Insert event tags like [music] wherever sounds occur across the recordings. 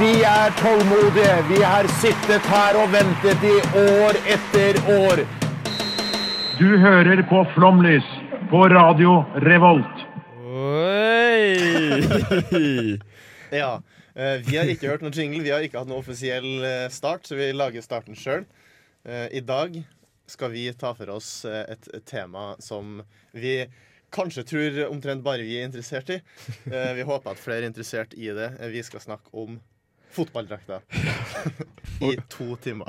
Vi er tålmodige. Vi har sittet her og ventet i år etter år. Du hører på Flomlys på Radio Revolt. Oi! Ja. eh, vi har ikke hørt noen jingle, vi har ikke hatt noen offisiell eh, start, så vi lager starten sjøl. I dag skal vi ta for oss eh, et et tema som vi kanskje tror omtrent bare vi er interessert i. Eh, Vi håper at flere er interessert i det. Eh, Vi skal snakke om fotballdrakter. [laughs] I to timer.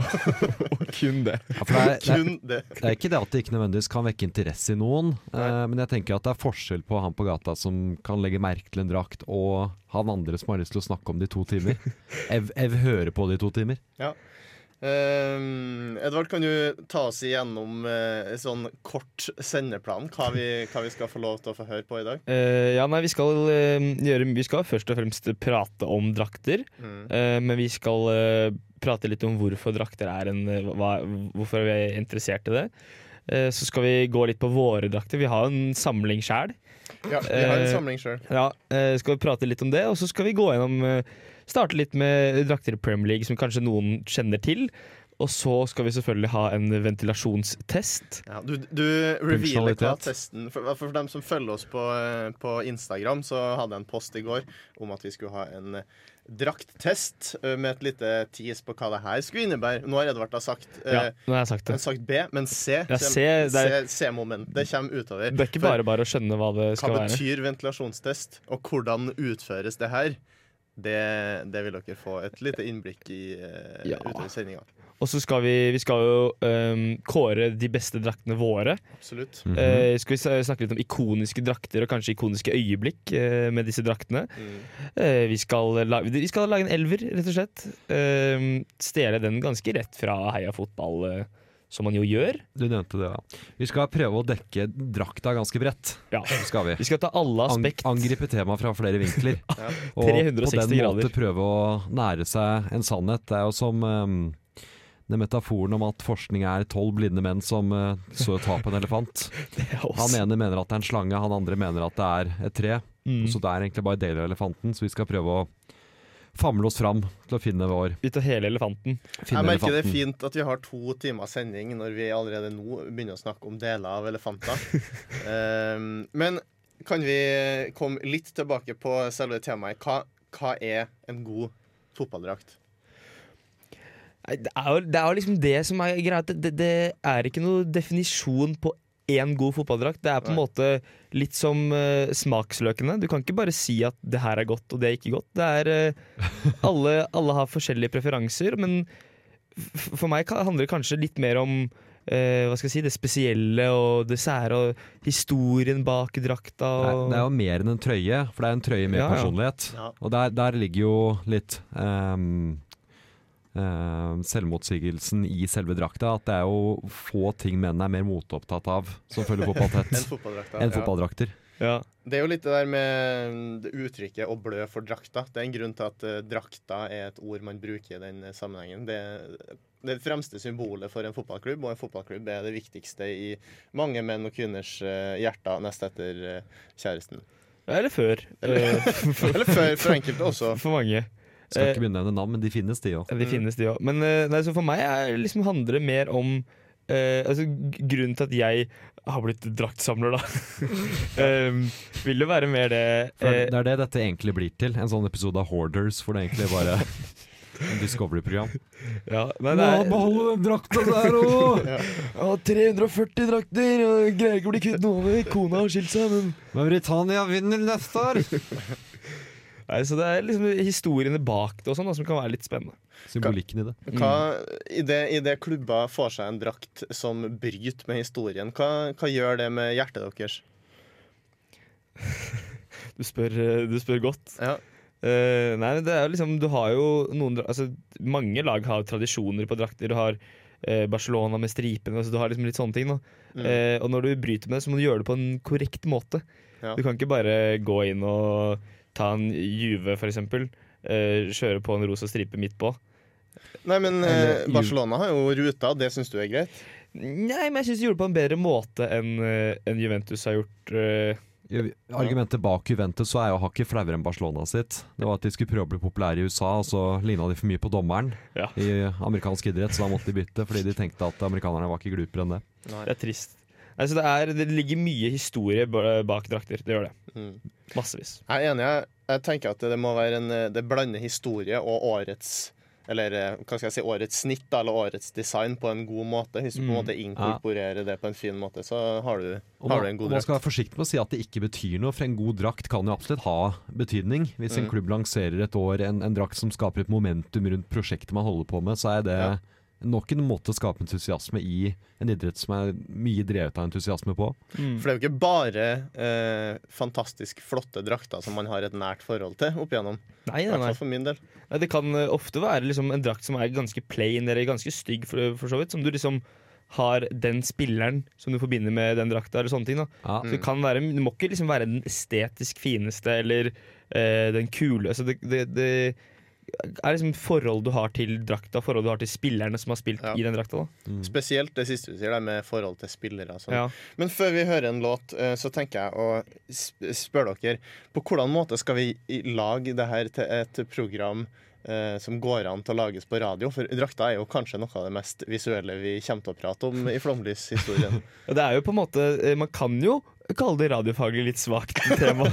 Kun det. Ja, for det, er, [laughs] det, Kun det. er, det er ikke det at det ikke nødvendigvis kan vekke interesse i noen, eh, men jeg tenker at det er forskjell på han på gata som kan legge merke til en drakt, og han andre som har lyst til å snakke om det i to timer. Ev, Ev hører på det i to timer. Ehm, Edvard, kan du ta oss igjennom eh, en sånn kort sendeplan? Hva vi, hva vi skal få lov til å få høre på i dag? Eh, ja, nei, vi skal, eh, gjøre, vi skal først og fremst prate om drakter. Mm. eh, men vi skal eh, prate litt om hvorfor drakter er en hva, Hvorfor vi er interessert i det. Eh, så skal vi gå litt på våre drakter. Vi har en samling sjæl. Ja, vi har en Eh, samling sjøl. Ja, eh, skal vi prate litt om det, og så skal vi gå gjennom eh, Starte litt med drakter i Premier League som kanskje noen kjenner til. Og så skal vi selvfølgelig ha en ventilasjonstest. Ja, du du revealer hva Funksjonalitet. testen for, for dem som følger oss på, eh, på Instagram, så hadde jeg en post i går om at vi skulle ha en eh, drakttest eh, med et lite tease på hva det her skulle innebære. Nå har Edvard da sagt, Ja, eh, nå har jeg sagt han det. har sagt B, men C. Ja, C- C, det er- C- C-moment. Det kommer utover. Det er ikke For bare bare å skjønne hva det hva skal være. betyr ventilasjonstest, og hvordan utføres det her? Det, det vil dere få et lite innblikk i eh, Ja. utover sendinga. Og så skal vi, vi skal jo øhm, kåre de beste draktene våre. Absolutt. Eh, skal vi s- snakke litt om ikoniske drakter og kanskje ikoniske øyeblikk eh, med disse draktene. Mm. Eh, vi, skal la, vi skal lage en elver, rett og slett. Eh, stjele den ganske rett fra Heia Fotball, eh, som man jo gjør. Du nevnte det, ja. Vi skal prøve å dekke drakta ganske bredt. Ja. Skal vi. Vi skal ta alle Ang aspekt. [laughs] angripe temaet fra flere vinkler. Og på 360 den grader. måte prøve å nære seg en sannhet. Det er jo som ehm, den metaforen om at forskning er tolv blinde menn som eh, så et tap på en elefant. Ja, oss. Han ene mener at det er en slange, han andre mener at det er et tre. Mm. Så det er egentlig bare deler av elefanten, så vi skal prøve å famle oss fram til å finne vår Vi tar hele elefanten. finne jeg merker det elefanten. er fint at vi har to timer sending når vi allerede nå begynner å snakke om deler av elefanter. Ehm, men kan vi komme litt tilbake på selve temaet? Hva, hva er en god fotballdrakt? Nei, Det er jo, det er jo liksom det som er greia. at Det, det, det er ikke noe definisjon på én god fotballdrakt. Det er på en Nei. måte litt som eh, smaksløkene. Du kan ikke bare si at det her er godt og det er ikke godt. Det er, eh, [laughs] alle, alle har forskjellige preferanser, men f- for meg ka- handler det kanskje litt mer om eh, hva skal jeg si, det spesielle og det sære og historien bak drakta. Det er, Og, det er jo mer enn en trøye, for det er en trøye med Ja, ja. personlighet. Ja. Og der, der ligger jo litt ehm, ehm, selvmotsigelsen i selve drakta. At det er jo få ting menn er mer motopptatt av som følger fotball [laughs] En tett, fotballdrakt? [laughs] da. enn Ja. fotballdrakter. ja. Det er jo litt det der med det uttrykket 'å blø for drakta'. Det er en grunn til at eh, drakta er et ord man bruker i den eh, sammenhengen. Det, det fremste symbolet for en fotballklubb, og en fotballklubb er det viktigste i mange menn og kvinners eh, hjerter nest etter eh, kjæresten. Eller før. eh, for, Eller for, [laughs] for enkelte også. for mange. Skal Eh, ikke begynne å nevne navn, men de finnes, de òg. Ja, de finnes, de òg. Men eh, nei, så for meg er, liksom, handler det mer om eh, altså, g- Grunnen til at jeg har blitt draktsamler, [laughs] da, um, vil jo være mer det eh, Det er det dette egentlig blir til. En sånn episode av Hoarders hvor det egentlig bare er en Discovery-program. ja, nei, det er, den drakta der [laughs] òg! Å, 340 drakter, og jeg greier ikke å bli kvitt noe over. Kona har skilt seg, men Men Britannia vinner neste år! Nei, Så det er liksom historiene bak det og sånn da, som kan være litt spennende. Symbolikken i det. Hva, i, det, I det klubba får seg en drakt som bryter med historien, hva, hva gjør det med hjertet deres? Du spør, eh, du spør godt. Ja. Eh, nei, men det er jo liksom Du har jo noen dra- altså, Mange lag har tradisjoner på drakter. Du har eh, Barcelona med stripene. Altså, du har liksom litt sånne ting. Da. Mm. Eh, og når du bryter med det, så må du gjøre det på en korrekt måte. Ja. Du kan ikke bare gå inn og ta en Juve, for eksempel. eh, kjøre på en rosa stripe midt på. Nei, men Eller eh, Ju- Barcelona har jo ruta, det syns du er greit? Nei, men jeg syns de gjorde det på en bedre måte enn eh, enn Juventus har gjort. eh, Ju- Argumentet bak Juventus så er jo hakket flauere enn Barcelona sitt. Det var at de skulle prøve å bli populære i USA, og så ligna de for mye på dommeren Ja. i amerikansk idrett, så da måtte de bytte fordi de tenkte at amerikanerne var ikke glupere enn det. Det er trist. Nei, så det, er, det ligger mye historie ba- bak drakter. Det gjør det. Mm. Massevis. Jeg er enig. Jeg, jeg tenker at det må være en eh, Det blander historie og årets eller eh, hva skal jeg si, årets snitt da, eller årets design på en god måte. Hvis du på en måte inkorporerer det på en fin måte, så har du, Og har du man, en og god man drakt. skal være forsiktig med å si at det ikke betyr noe, for en god drakt kan jo absolutt ha betydning. Hvis Mm. en klubb lanserer et år en, en drakt som skaper et momentum rundt prosjektet man holder på med, så er det Ja. nok en måte å skape entusiasme i en idrett som er mye drevet av entusiasme på. For det er jo ikke bare eh, fantastisk flotte drakter som man har et nært forhold til opp igjennom. Nei, I hvert nei, nei. fall for min del. nei, det kan eh, ofte være liksom en drakt som er ganske plain eller ganske stygg, for, for så vidt. Som du liksom har den spilleren som du forbinder med den drakta, eller sånne ting. da Ja. Mm. Så det, kan være, det må ikke liksom være den estetisk fineste eller eh, den kule. Altså det, det, det er liksom forhold du har til drakta, forhold du har til spillerne som har spilt Ja. i den drakta. da Spesielt det siste du sier, det med forhold til spillere. og sånn. ja. Men før vi hører en låt, eh, så tenker jeg å sp- spørre dere På hvordan måte skal vi i- lage det her til et program eh, som går an til å lages på radio? For drakta er jo kanskje noe av det mest visuelle vi kommer til å prate om i Flomlyshistorien. Og det er jo på en måte eh, Man kan jo kalle det radiofaglig litt svakt [laughs] tema,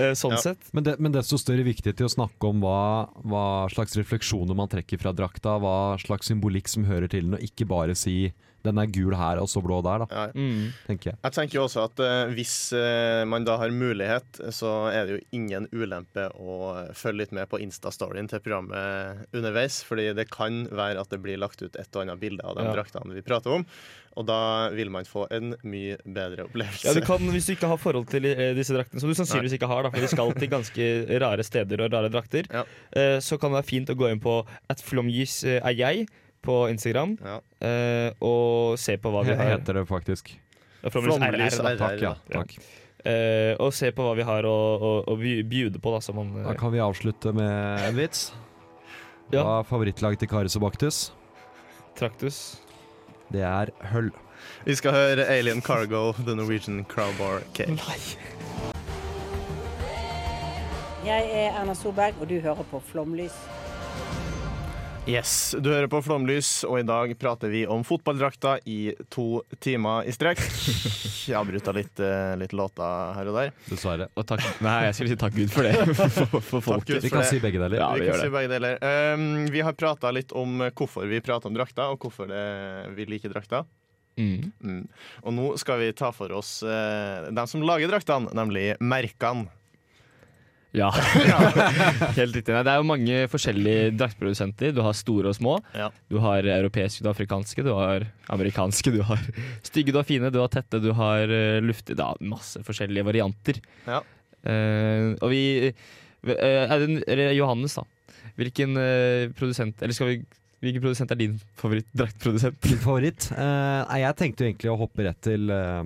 eh, sånn Ja. sett. Men, det, men desto større viktighet til å snakke om hva, hva slags refleksjoner man trekker fra drakta, hva slags symbolikk som hører til den, og ikke bare si 'den er gul her og så blå der', da, Ja. Mm. tenker jeg. Jeg tenker jo også at eh, hvis eh, man da har mulighet, så er det jo ingen ulempe å følge litt med på Insta-storyen til programmet underveis, fordi det kan være at det blir lagt ut et og annet bilde av de Ja. draktene vi prater om, og da vil man få en mye bedre opplevelse. Ja, du kan, Hvis du ikke har forhold til eh, disse draktene, som du sannsynligvis ikke har, da, for de skal til ganske rare steder og rare drakter, Ja. eh, så kan det være fint å gå inn på at flomgis eh, er jeg på Instagram, Ja. eh, og se på hva vi He- har. Heter det faktisk. Ja, Flomlys RR, Flomlys da. RR. Takk, ja. Ja. Takk. Eh, og se på hva vi har å, å, å by- bjude på, da, som man Da eh, kan vi avslutte med en vits. Ja. Hva er favorittlaget til Karius og Baktus? Traktus. Det er høll. Vi skal høre Alien Cargo, The Norwegian Crowbar Cake. Jeg er Erna Solberg, og du hører på Flomlys. Yes, du hører på Flomlys, og i dag prater vi om fotballdrakta i to timer i [laughs] strekk. Jeg har brutt av litt, eh, litt låter her og der. Dessverre. Og takk, nei, jeg skulle si takk Gud for det. For, for, for Takk folket. Gud Vi for kan det. si begge deler. Ja, vi vi gjør kan si det. begge deler. Um, vi har prata litt om hvorfor vi prater om drakta, og hvorfor det, vi liker drakta. Mm. Mm. Og nå skal vi ta for oss eh, dem som lager draktene, nemlig merkene. [laughs] Ja, helt riktig. Nei, det er jo mange forskjellige draktprodusenter. Du har store og små. Ja. Du har europeiske, du har afrikanske, du har amerikanske, du har stygge, du har fine, du har tette, du har eh, luftige Da, masse forskjellige varianter. Ja. Eh, og vi eh, er det, eller Johannes, da. Hvilken eh, produsent Eller skal vi Hvilken produsent er din favoritt-draktprodusent? Min favoritt? Eh, nei, jeg tenkte jo egentlig å hoppe rett til eh,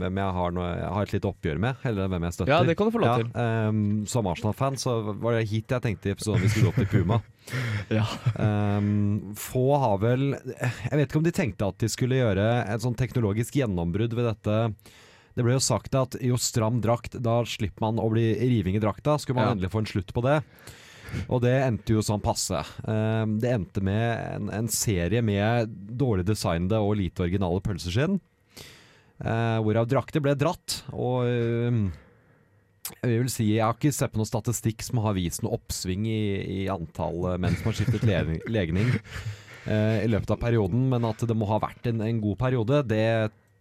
hvem jeg har, nå, jeg har et lite oppgjør med, eller hvem jeg støtter. Ja, det kan du få lov til. Ja, ehm, som Arsenal-fan så var det hit jeg tenkte i episoden vi skulle gå til Puma. [laughs] Ja. Ehm, få har vel Jeg vet ikke om de tenkte at de skulle gjøre et sånn teknologisk gjennombrudd ved dette. Det ble jo sagt at jo stram drakt, da slipper man å bli riving i drakta. Skulle man Ja. endelig få en slutt på det? Og det endte jo sånn passe. Ehm, det endte med en, en serie med dårlig designede og lite originale pølseskinn. eh, hvorav drakter ble dratt. Og ehm, jeg vil si, jeg har ikke sett på noen statistikk som har vist noe oppsving i, i antall eh, menn som har skiftet le- legning eh, i løpet av perioden, men at det må ha vært en, en god periode, det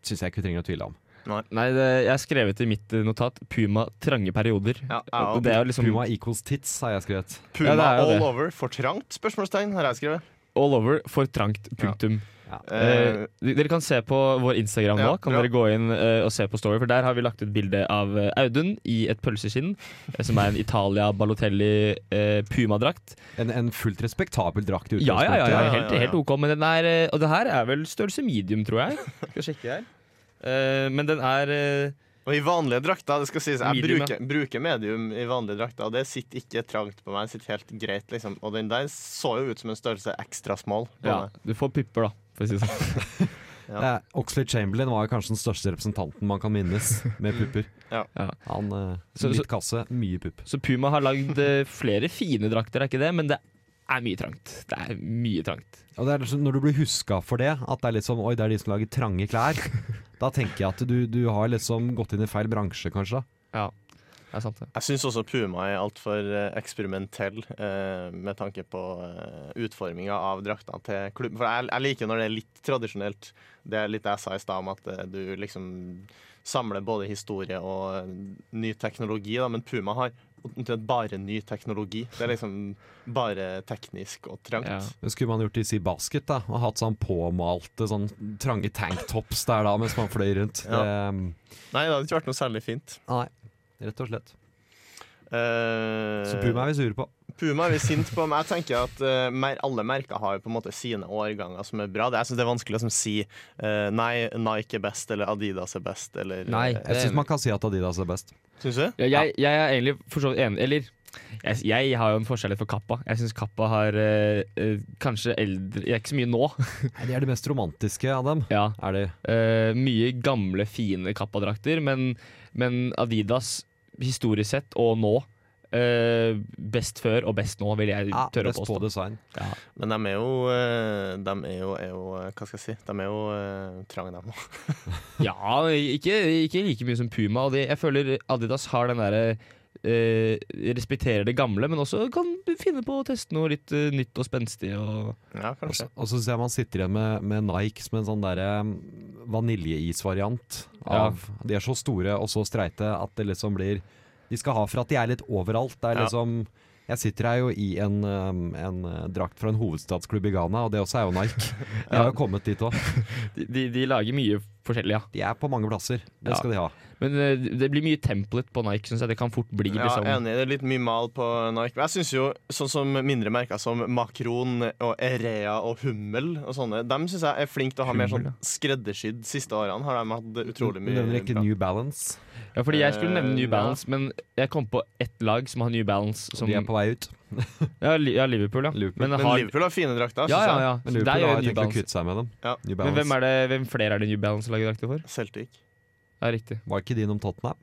syns jeg ikke vi trenger å tvile om. Nei, det, jeg har skrevet i mitt eh, notat 'Puma trange perioder'. Ja, ja, det er jo liksom Puma equals tits, har jeg skrevet. Puma Ja, det er jo all det. over. For trangt? Spørsmålstegn, har jeg skrevet. all over for trangt. Punktum. Eh, Eh, dere kan se på vår Instagram nå. Ja, Kan ja. dere gå inn eh, og se på Story, for der har vi lagt ut bilde av eh, Audun i et pølseskinn, eh, som er en Italia Balotelli eh, pumadrakt. En, en fullt respektabel drakt i Ja, ja, ja, ja, ja, helt, ja, ja. helt OK, men den er eh, Og det her er vel størrelse medium, tror jeg. skal sjekke her. Eh, men den er eh, Og i vanlige drakter, det skal sies, jeg Medium, ja. bruker, bruker medium i vanlige drakter. og Det sitter ikke trangt på meg. det sitter helt greit, liksom. Og den der så jo ut som en størrelse ekstra small. på Ja, meg. du får pupper, da, for å si det sånn. Eh, Oxley Chamberlain var jo kanskje den største representanten man kan minnes med pupper. Ja. Ja. Han eh, Så- så- Litt kasse, mye pupp. Så Puma har lagd eh, flere fine drakter, er ikke det? Men det er mye trangt. Det er mye trangt. Og det er liksom, Når du blir huska for det, at det er litt sånn Oi, det er de som lager trange [laughs] klær. Da tenker jeg at du, du har liksom gått inn i feil bransje, kanskje. da. Det er sant, det. Jeg syns også Puma er altfor eksperimentell eh, med tanke på eh, utforminga av draktene til klubben. For jeg, jeg liker når det er litt tradisjonelt. Det er litt det jeg sa i stad om at eh, du liksom samler både historie og eh, ny teknologi, da, men Puma har omtrent bare ny teknologi. Det er liksom bare teknisk og trangt. Ja. Det skulle man gjort i Sea Basket, da. Og hatt sånn påmalte, sånn trange tanktops der da, mens man fløy rundt. Ja. Det, Nei, det hadde ikke vært noe særlig fint. nei, rett og slett. Eh, Så Puma er vi sure på. Puma er vi sint på, men jeg tenker at eh, mer, alle merker har jo på en måte sine årganger som er bra. Det, jeg synes det er vanskelig å liksom, si eh, nei, Nike er best, eller Adidas er best, eller Nei. eh, Jeg syns man kan si at Adidas er best. Syns du? Ja, jeg, jeg er egentlig for så vidt enig Eller jeg, jeg har jo en forskjellighet for Kappa. Jeg syns Kappa har eh, eh, kanskje eldre Jeg er ikke så mye nå. [laughs] Nei, De er de mest romantiske av dem. ja, Er de? eh, mye gamle, fine Kappa-drakter, men, men Adidas historisk sett og nå eh, best før og best nå, vil jeg Ja, tørre å best på påstå. design. Men de er jo, eh, de er jo, er jo eh, Hva skal jeg si? De er jo eh, trange, de òg. Ja, ikke, ikke like mye som Puma. Og det, jeg føler Adidas har den derre eh, respekterer det gamle, men også kan finne på å teste noe litt eh, nytt og spenstig. Og [laughs] Ja, Og kanskje. så- Og så ser jeg man sitter igjen med, med Nike som en sånn derre mm, vaniljeisvariant av De er så store og så streite at det liksom blir De skal ha for at de er litt overalt. Det er Ja. liksom Jeg sitter her jo i en, um, en uh, drakt fra en hovedstadsklubb i Ghana, og det også er [laughs] jo Nike. De har jo kommet dit òg. de, de, de lager mye forskjellig, ja. De er på mange plasser. Det Ja. skal de ha. Men eh, det blir mye template på Nike, syns jeg. Det kan fort bli Ja, liksom enig. Det er litt mye mal på Nike. Men jeg syns jo sånn som mindre merker som Makron og Erea og Hummel og sånne, dem syns jeg er flinke til å ha mer Hummel, sånn skreddersydd siste årene. Har de hatt Du utrolig mye nevner ikke bra. New Balance. ja, Fordi jeg skulle nevne Eh, New Balance, men jeg kom på ett lag som har New Balance. Som, De er på vei ut. ja, Li- ja, Liverpool, ja. Liverpool. Men, Men har, Liverpool har fine drakter. ja, synes ja, jeg. ja. Men Der Liverpool har gjør New tenkt å Balance. kutte seg med dem. Ja. New Men hvem, Balance. er det, hvem flere er det New Balance-laget drakter for? Celtic. Ja, riktig. Var ikke de innom Tottenham?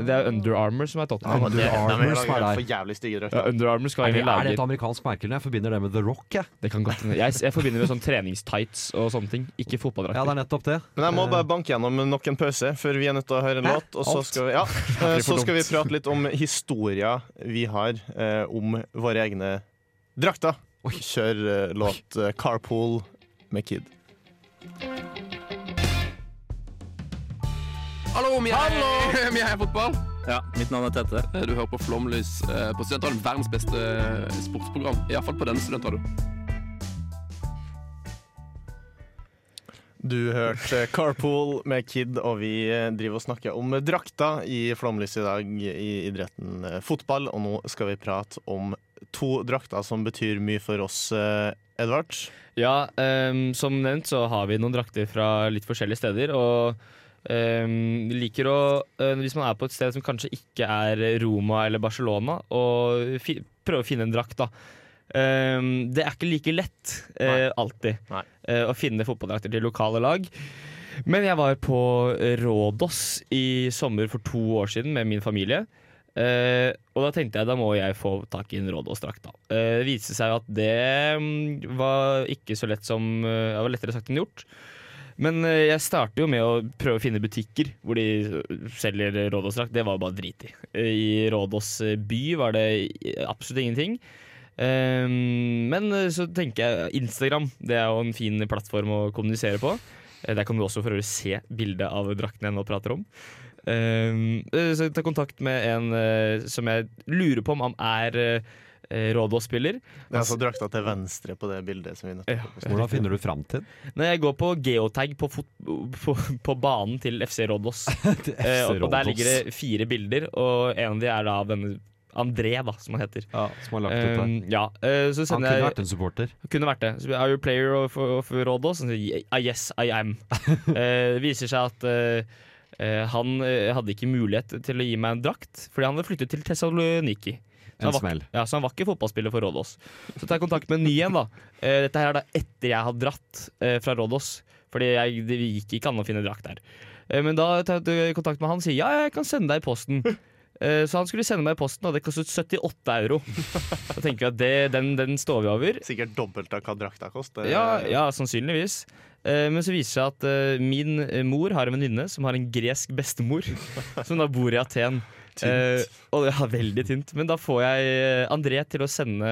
Det er Under Armour som er Ja, Tottenham. men det, de Under er Armour som er laget der. for jævlig stygge Ja, drakter. Under Armour skal Er det, egentlig er det lage et amerikansk merke? Jeg forbinder det med The Rock. Jeg. Det kan godt hende. Jeg, jeg forbinder det med sånn treningstights og sånne ting, ikke Ja, det fotballdrakter. er nettopp det. Men jeg må bare banke gjennom nok en pause før vi er nødt til å høre en låt. Og så Alt? skal, vi, [laughs] ja, eh, blir for så skal vi dumt. prate litt om historier vi har eh, om våre egne drakter. Kjør eh, låt eh, 'Carpool' med Kid. Hallo, vi er, [laughs] vi er Heia fotball. Ja, Mitt navn er Tette. Du hører på Flomlys eh, på Studentradioen. Verdens beste eh, sportsprogram. Iallfall på denne studentradioen. Du hørte eh, 'Carpool' med Kid, og vi eh, driver og snakker om drakter i Flomlys i dag i idretten eh, fotball. Og nå skal vi prate om to drakter som betyr mye for oss, eh, Edvard. Ja, ehm, som nevnt så har vi noen drakter fra litt forskjellige steder. Og ehm, liker å, eh, hvis man er på et sted som kanskje ikke er Roma eller Barcelona, og fi, prøve å finne en drakt, da. Ehm, det er ikke like lett eh, alltid Nei. eh, å finne fotballdrakter til lokale lag. Men jeg var på Rådås i sommer for to år siden med min familie. Eh, og da tenkte jeg da må jeg få tak i en Rådås-drakt. da. Eh, det viste seg at det mm, var ikke så lett som eh, Det var lettere sagt enn gjort. Men eh, jeg starter jo med å prøve å finne butikker hvor de eh, selger Rådås-drakt. Det var jo bare drit i. Eh, I Rådås eh, by var det i- absolutt ingenting. Eh, men eh, så tenker jeg Instagram. Det er jo en fin plattform å kommunisere på. Eh, Der kan du også for øvrig se bildet av drakten jeg nå prater om. Ehm, Um, eh, så ta kontakt med en eh, som jeg lurer på om han er eh, eh, Rådås-spiller. Det er altså drakta til venstre på det bildet som vi nettopp Hvordan finner du fram til den? Når jeg går på geotag på, fot på, på banen til FC [laughs] Rådås, Til eh, FC og, og der Rådås, ligger det fire bilder, og en av de er da av denne André, da, som han heter. ja, som har lagt ut der. Um, ja, eh, så Han sender kunne jeg vært en supporter. Kunne vært det. Så, Are you player of, of Rådås? Han sier, "Ah, yes, I [laughs] am. Eh, Det viser seg at eh, eh, han eh, hadde ikke mulighet til å gi meg en drakt, fordi han hadde flyttet til Thessaloniki. Så En han, var, smell. ja, så han var ikke fotballspiller for Rådås. Så tar jeg kontakt med en ny en. da Eh, Dette her er da etter jeg har dratt eh, fra Rådås, Fordi jeg, det gikk ikke an å finne drakt der. Eh, Men da tar jeg kontakt med han og sier ja, jeg kan sende deg i posten. [laughs] Eh, Så han skulle sende meg i posten, og det kostet 78 euro. Da tenker vi at det, den, den står vi over. Sikkert dobbelt av hva drakta koster. Ja, ja sannsynligvis. Eh, Men så viser det seg at eh, min eh, mor har en venninne som har en gresk bestemor, som da bor i Aten. Eh, og ja, veldig tynt. Men da får jeg eh, André til å sende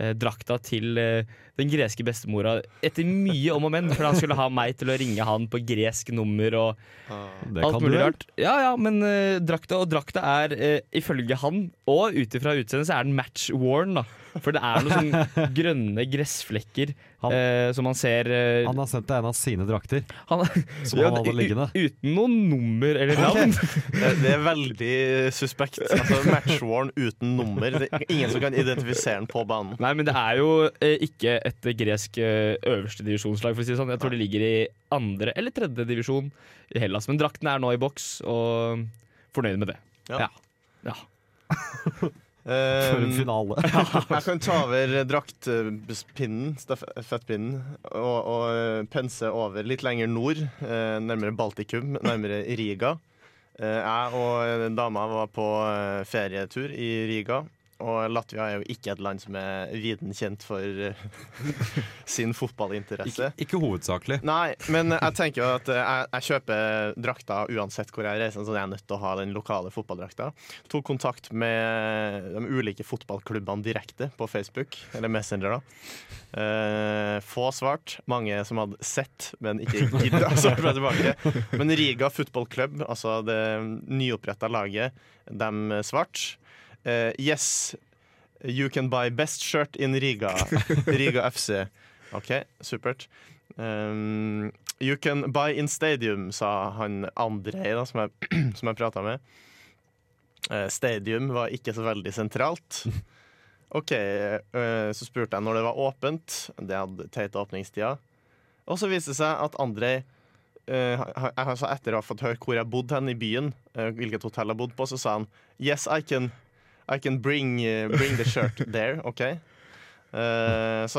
eh, drakta til eh, den greske bestemora etter mye om og men, for han skulle ha meg til å ringe han på gresk nummer og Det alt kan du mulig vel? rart. Ja, ja, men eh, drakta og drakta er, eh, ifølge han, og ut ifra utseendet, så er den match worn, da. For det er noen sånne [laughs] grønne gressflekker Han- eh, som man ser eh, Han har sendt deg en av sine drakter. han, Som han hadde u- liggende. Uten noe nummer eller navn. Det, det er veldig suspekt. Altså Matchworn uten nummer. Det er ingen som kan identifisere den på [laughs] banen. Nei, men det er jo eh, ikke et gresk eh, øverste divisjonslag, for å si det sånn. Jeg tror det ligger i andre eller tredje divisjon i Hellas. Men drakten er nå i boks, og fornøyd med det. Ja. Ja. For Um, en finale. jeg kan ta over draktpinnen, stafettpinnen, og, og pense over litt lenger nord, eh, nærmere Baltikum, nærmere Riga. Eh, Jeg og dama var på eh, ferietur i Riga, og Latvia er jo ikke et land som er viden kjent for eh, [laughs] sin fotballinteresse. [laughs] Ikke hovedsakelig. Nei, men jeg tenker jo at eh, jeg, jeg kjøper drakta uansett hvor jeg reiser, så jeg er nødt til å ha den lokale fotballdrakta. Tok kontakt med de ulike fotballklubbene direkte på Facebook, eller Messenger, da. Eh, få svart. Mange som hadde sett, men ikke gidda å svare tilbake. Men Riga Football Club, altså det nyoppretta laget, de svarte. Eh, yes, you can buy best shirt in Riga. Riga FC. OK, supert. Um, you can buy in stadium, sa han Andrei, da, som jeg, [clears throat] som jeg prata med. Eh, stadium var ikke så veldig sentralt. OK, eh, så spurte jeg når det var åpent. Det hadde teite åpningstida. Og så viste det seg at Andrei eh, ha- ha- altså Etter å ha fått høre hvor jeg bodde hen i byen, eh, hvilket hotell jeg bodde på, så sa han Yes, I can, I can bring, eh, bring the shirt there. OK. Eh, så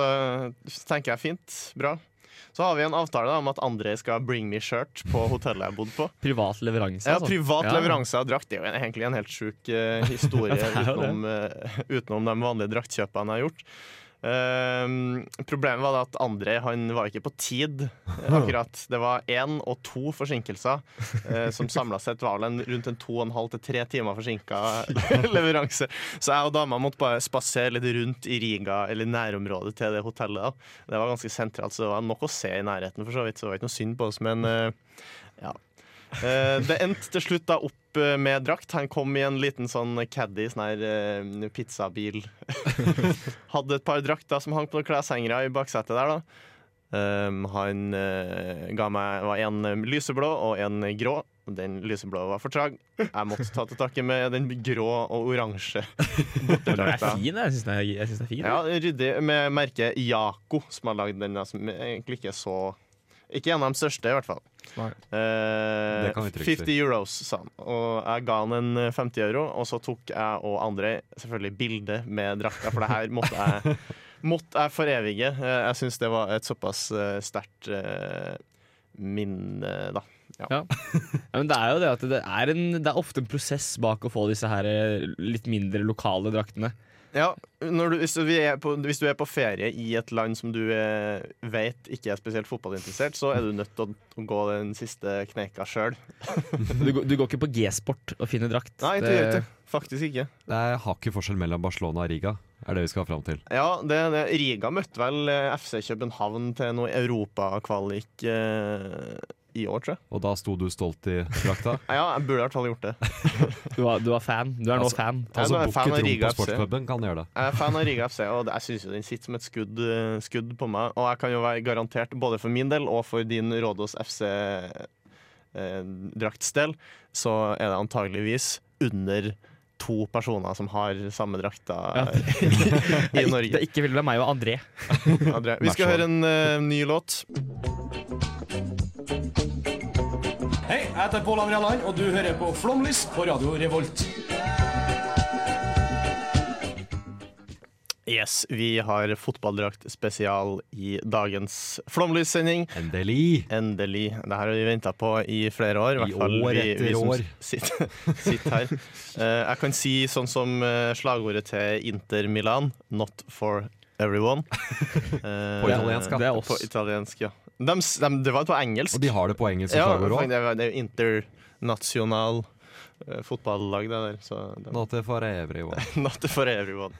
tenker jeg fint. Bra. Så har vi en avtale da, om at André skal bring me shirt på hotellet jeg bodde på. Privat leveranse, altså. Ja, privat [laughs] Ja. leveranse av drakt. Det er jo en- egentlig en helt sjuk eh, [laughs] historie er jo det. utenom, eh, utenom de vanlige draktkjøpene jeg har gjort. Ehm, problemet var da at André han var ikke på tid. eh, akkurat Det var én og to forsinkelser, eh, som samla sett var vel en, rundt en to og en halv til tre timer [laughs] forsinka leveranse. Så jeg og dama måtte bare spasere litt rundt i Riga eller nærområdet til det hotellet. da. Det var ganske sentralt, så det var nok å se i nærheten, for så vidt. Så det var ikke noe synd på oss, men eh, ja. Eh, det endte til slutt da opp eh, med drakt. Han kom i en liten sånn caddy, sånn her eh, pizzabil. [laughs] Hadde et par drakter som hang på noen kleshengere i baksetet der, da. Um, han eh, ga meg var en eh, lyseblå og en grå. Den lyseblå var for trag. Jeg måtte ta til takke med den grå og oransje. Den er bortedrakta. fin, jeg. jeg syns den er, jeg synes den er fin. Ja, ryddig med merket Jaco, som har lagd den. da, Som egentlig ikke er så Ikke en av de største, i hvert fall. Nei. Eh, Det kan vi trygt si. 50 euros, sa han. Og jeg ga han en 50 euro, og så tok jeg og André selvfølgelig bilde med drakta, for det her måtte [laughs] jeg, måtte jeg forevige. Eh, Jeg syns det var et såpass eh, sterkt eh, minne, da. Ja, men det er jo det at det er, en, det er ofte en prosess bak å få disse her eh, litt mindre lokale draktene. Ja, når du, hvis, du er på, hvis du er på ferie i et land som du eh, vet ikke er spesielt fotballinteressert, så er du nødt til å gå den siste kneika sjøl. Du, går- du går ikke på G-sport og finner drakt. Nei, du gjør ikke det. Faktisk ikke. Det er hakket forskjell mellom Barcelona og Riga, er det vi skal fram til. Ja, det, det, Riga møtte vel eh, FC København til noe europakvalik eh, i år, tror jeg. Og da sto du stolt i drakta? Ja, jeg burde i hvert fall gjort det. Du var, du var fan. Du er nå fan. Jeg Altså, er Bukk fan av et rom Riga på FC. sportspuben kan gjøre det. Jeg er fan av Riga FC, og jeg syns den sitter som et skudd, eh, skudd på meg. Og jeg kan jo være garantert, både for min del og for din Rådås FC-draktsdel, eh, så er det antageligvis under to personer som har samme drakta eh, [laughs] i Det Norge. er ikke veldig meg og André. André. Vi skal høre en eh, ny låt. Hei, jeg heter Pål André Land, og du hører på Flomlys på Radio Revolt. Yes, vi har fotballdrakt spesial i dagens Flomlys-sending. Endelig! Endelig. Det her har vi venta på i flere år. I år etter som år. Sitter, [laughs] sitter her. Eh, jeg kan si sånn som eh, slagordet til Inter Milan, 'Not for everyone'. Eh, [laughs] På italiensk, ja. Det er oss. På italiensk, ja. Dem s- dem- det var på engelsk. Og de har det på engelsk ja, slagord faktisk, òg. det er- det er jo internasjonal eh, fotballag, det der. Så dem- Nå til for evig. hva? [laughs] Not for everyone.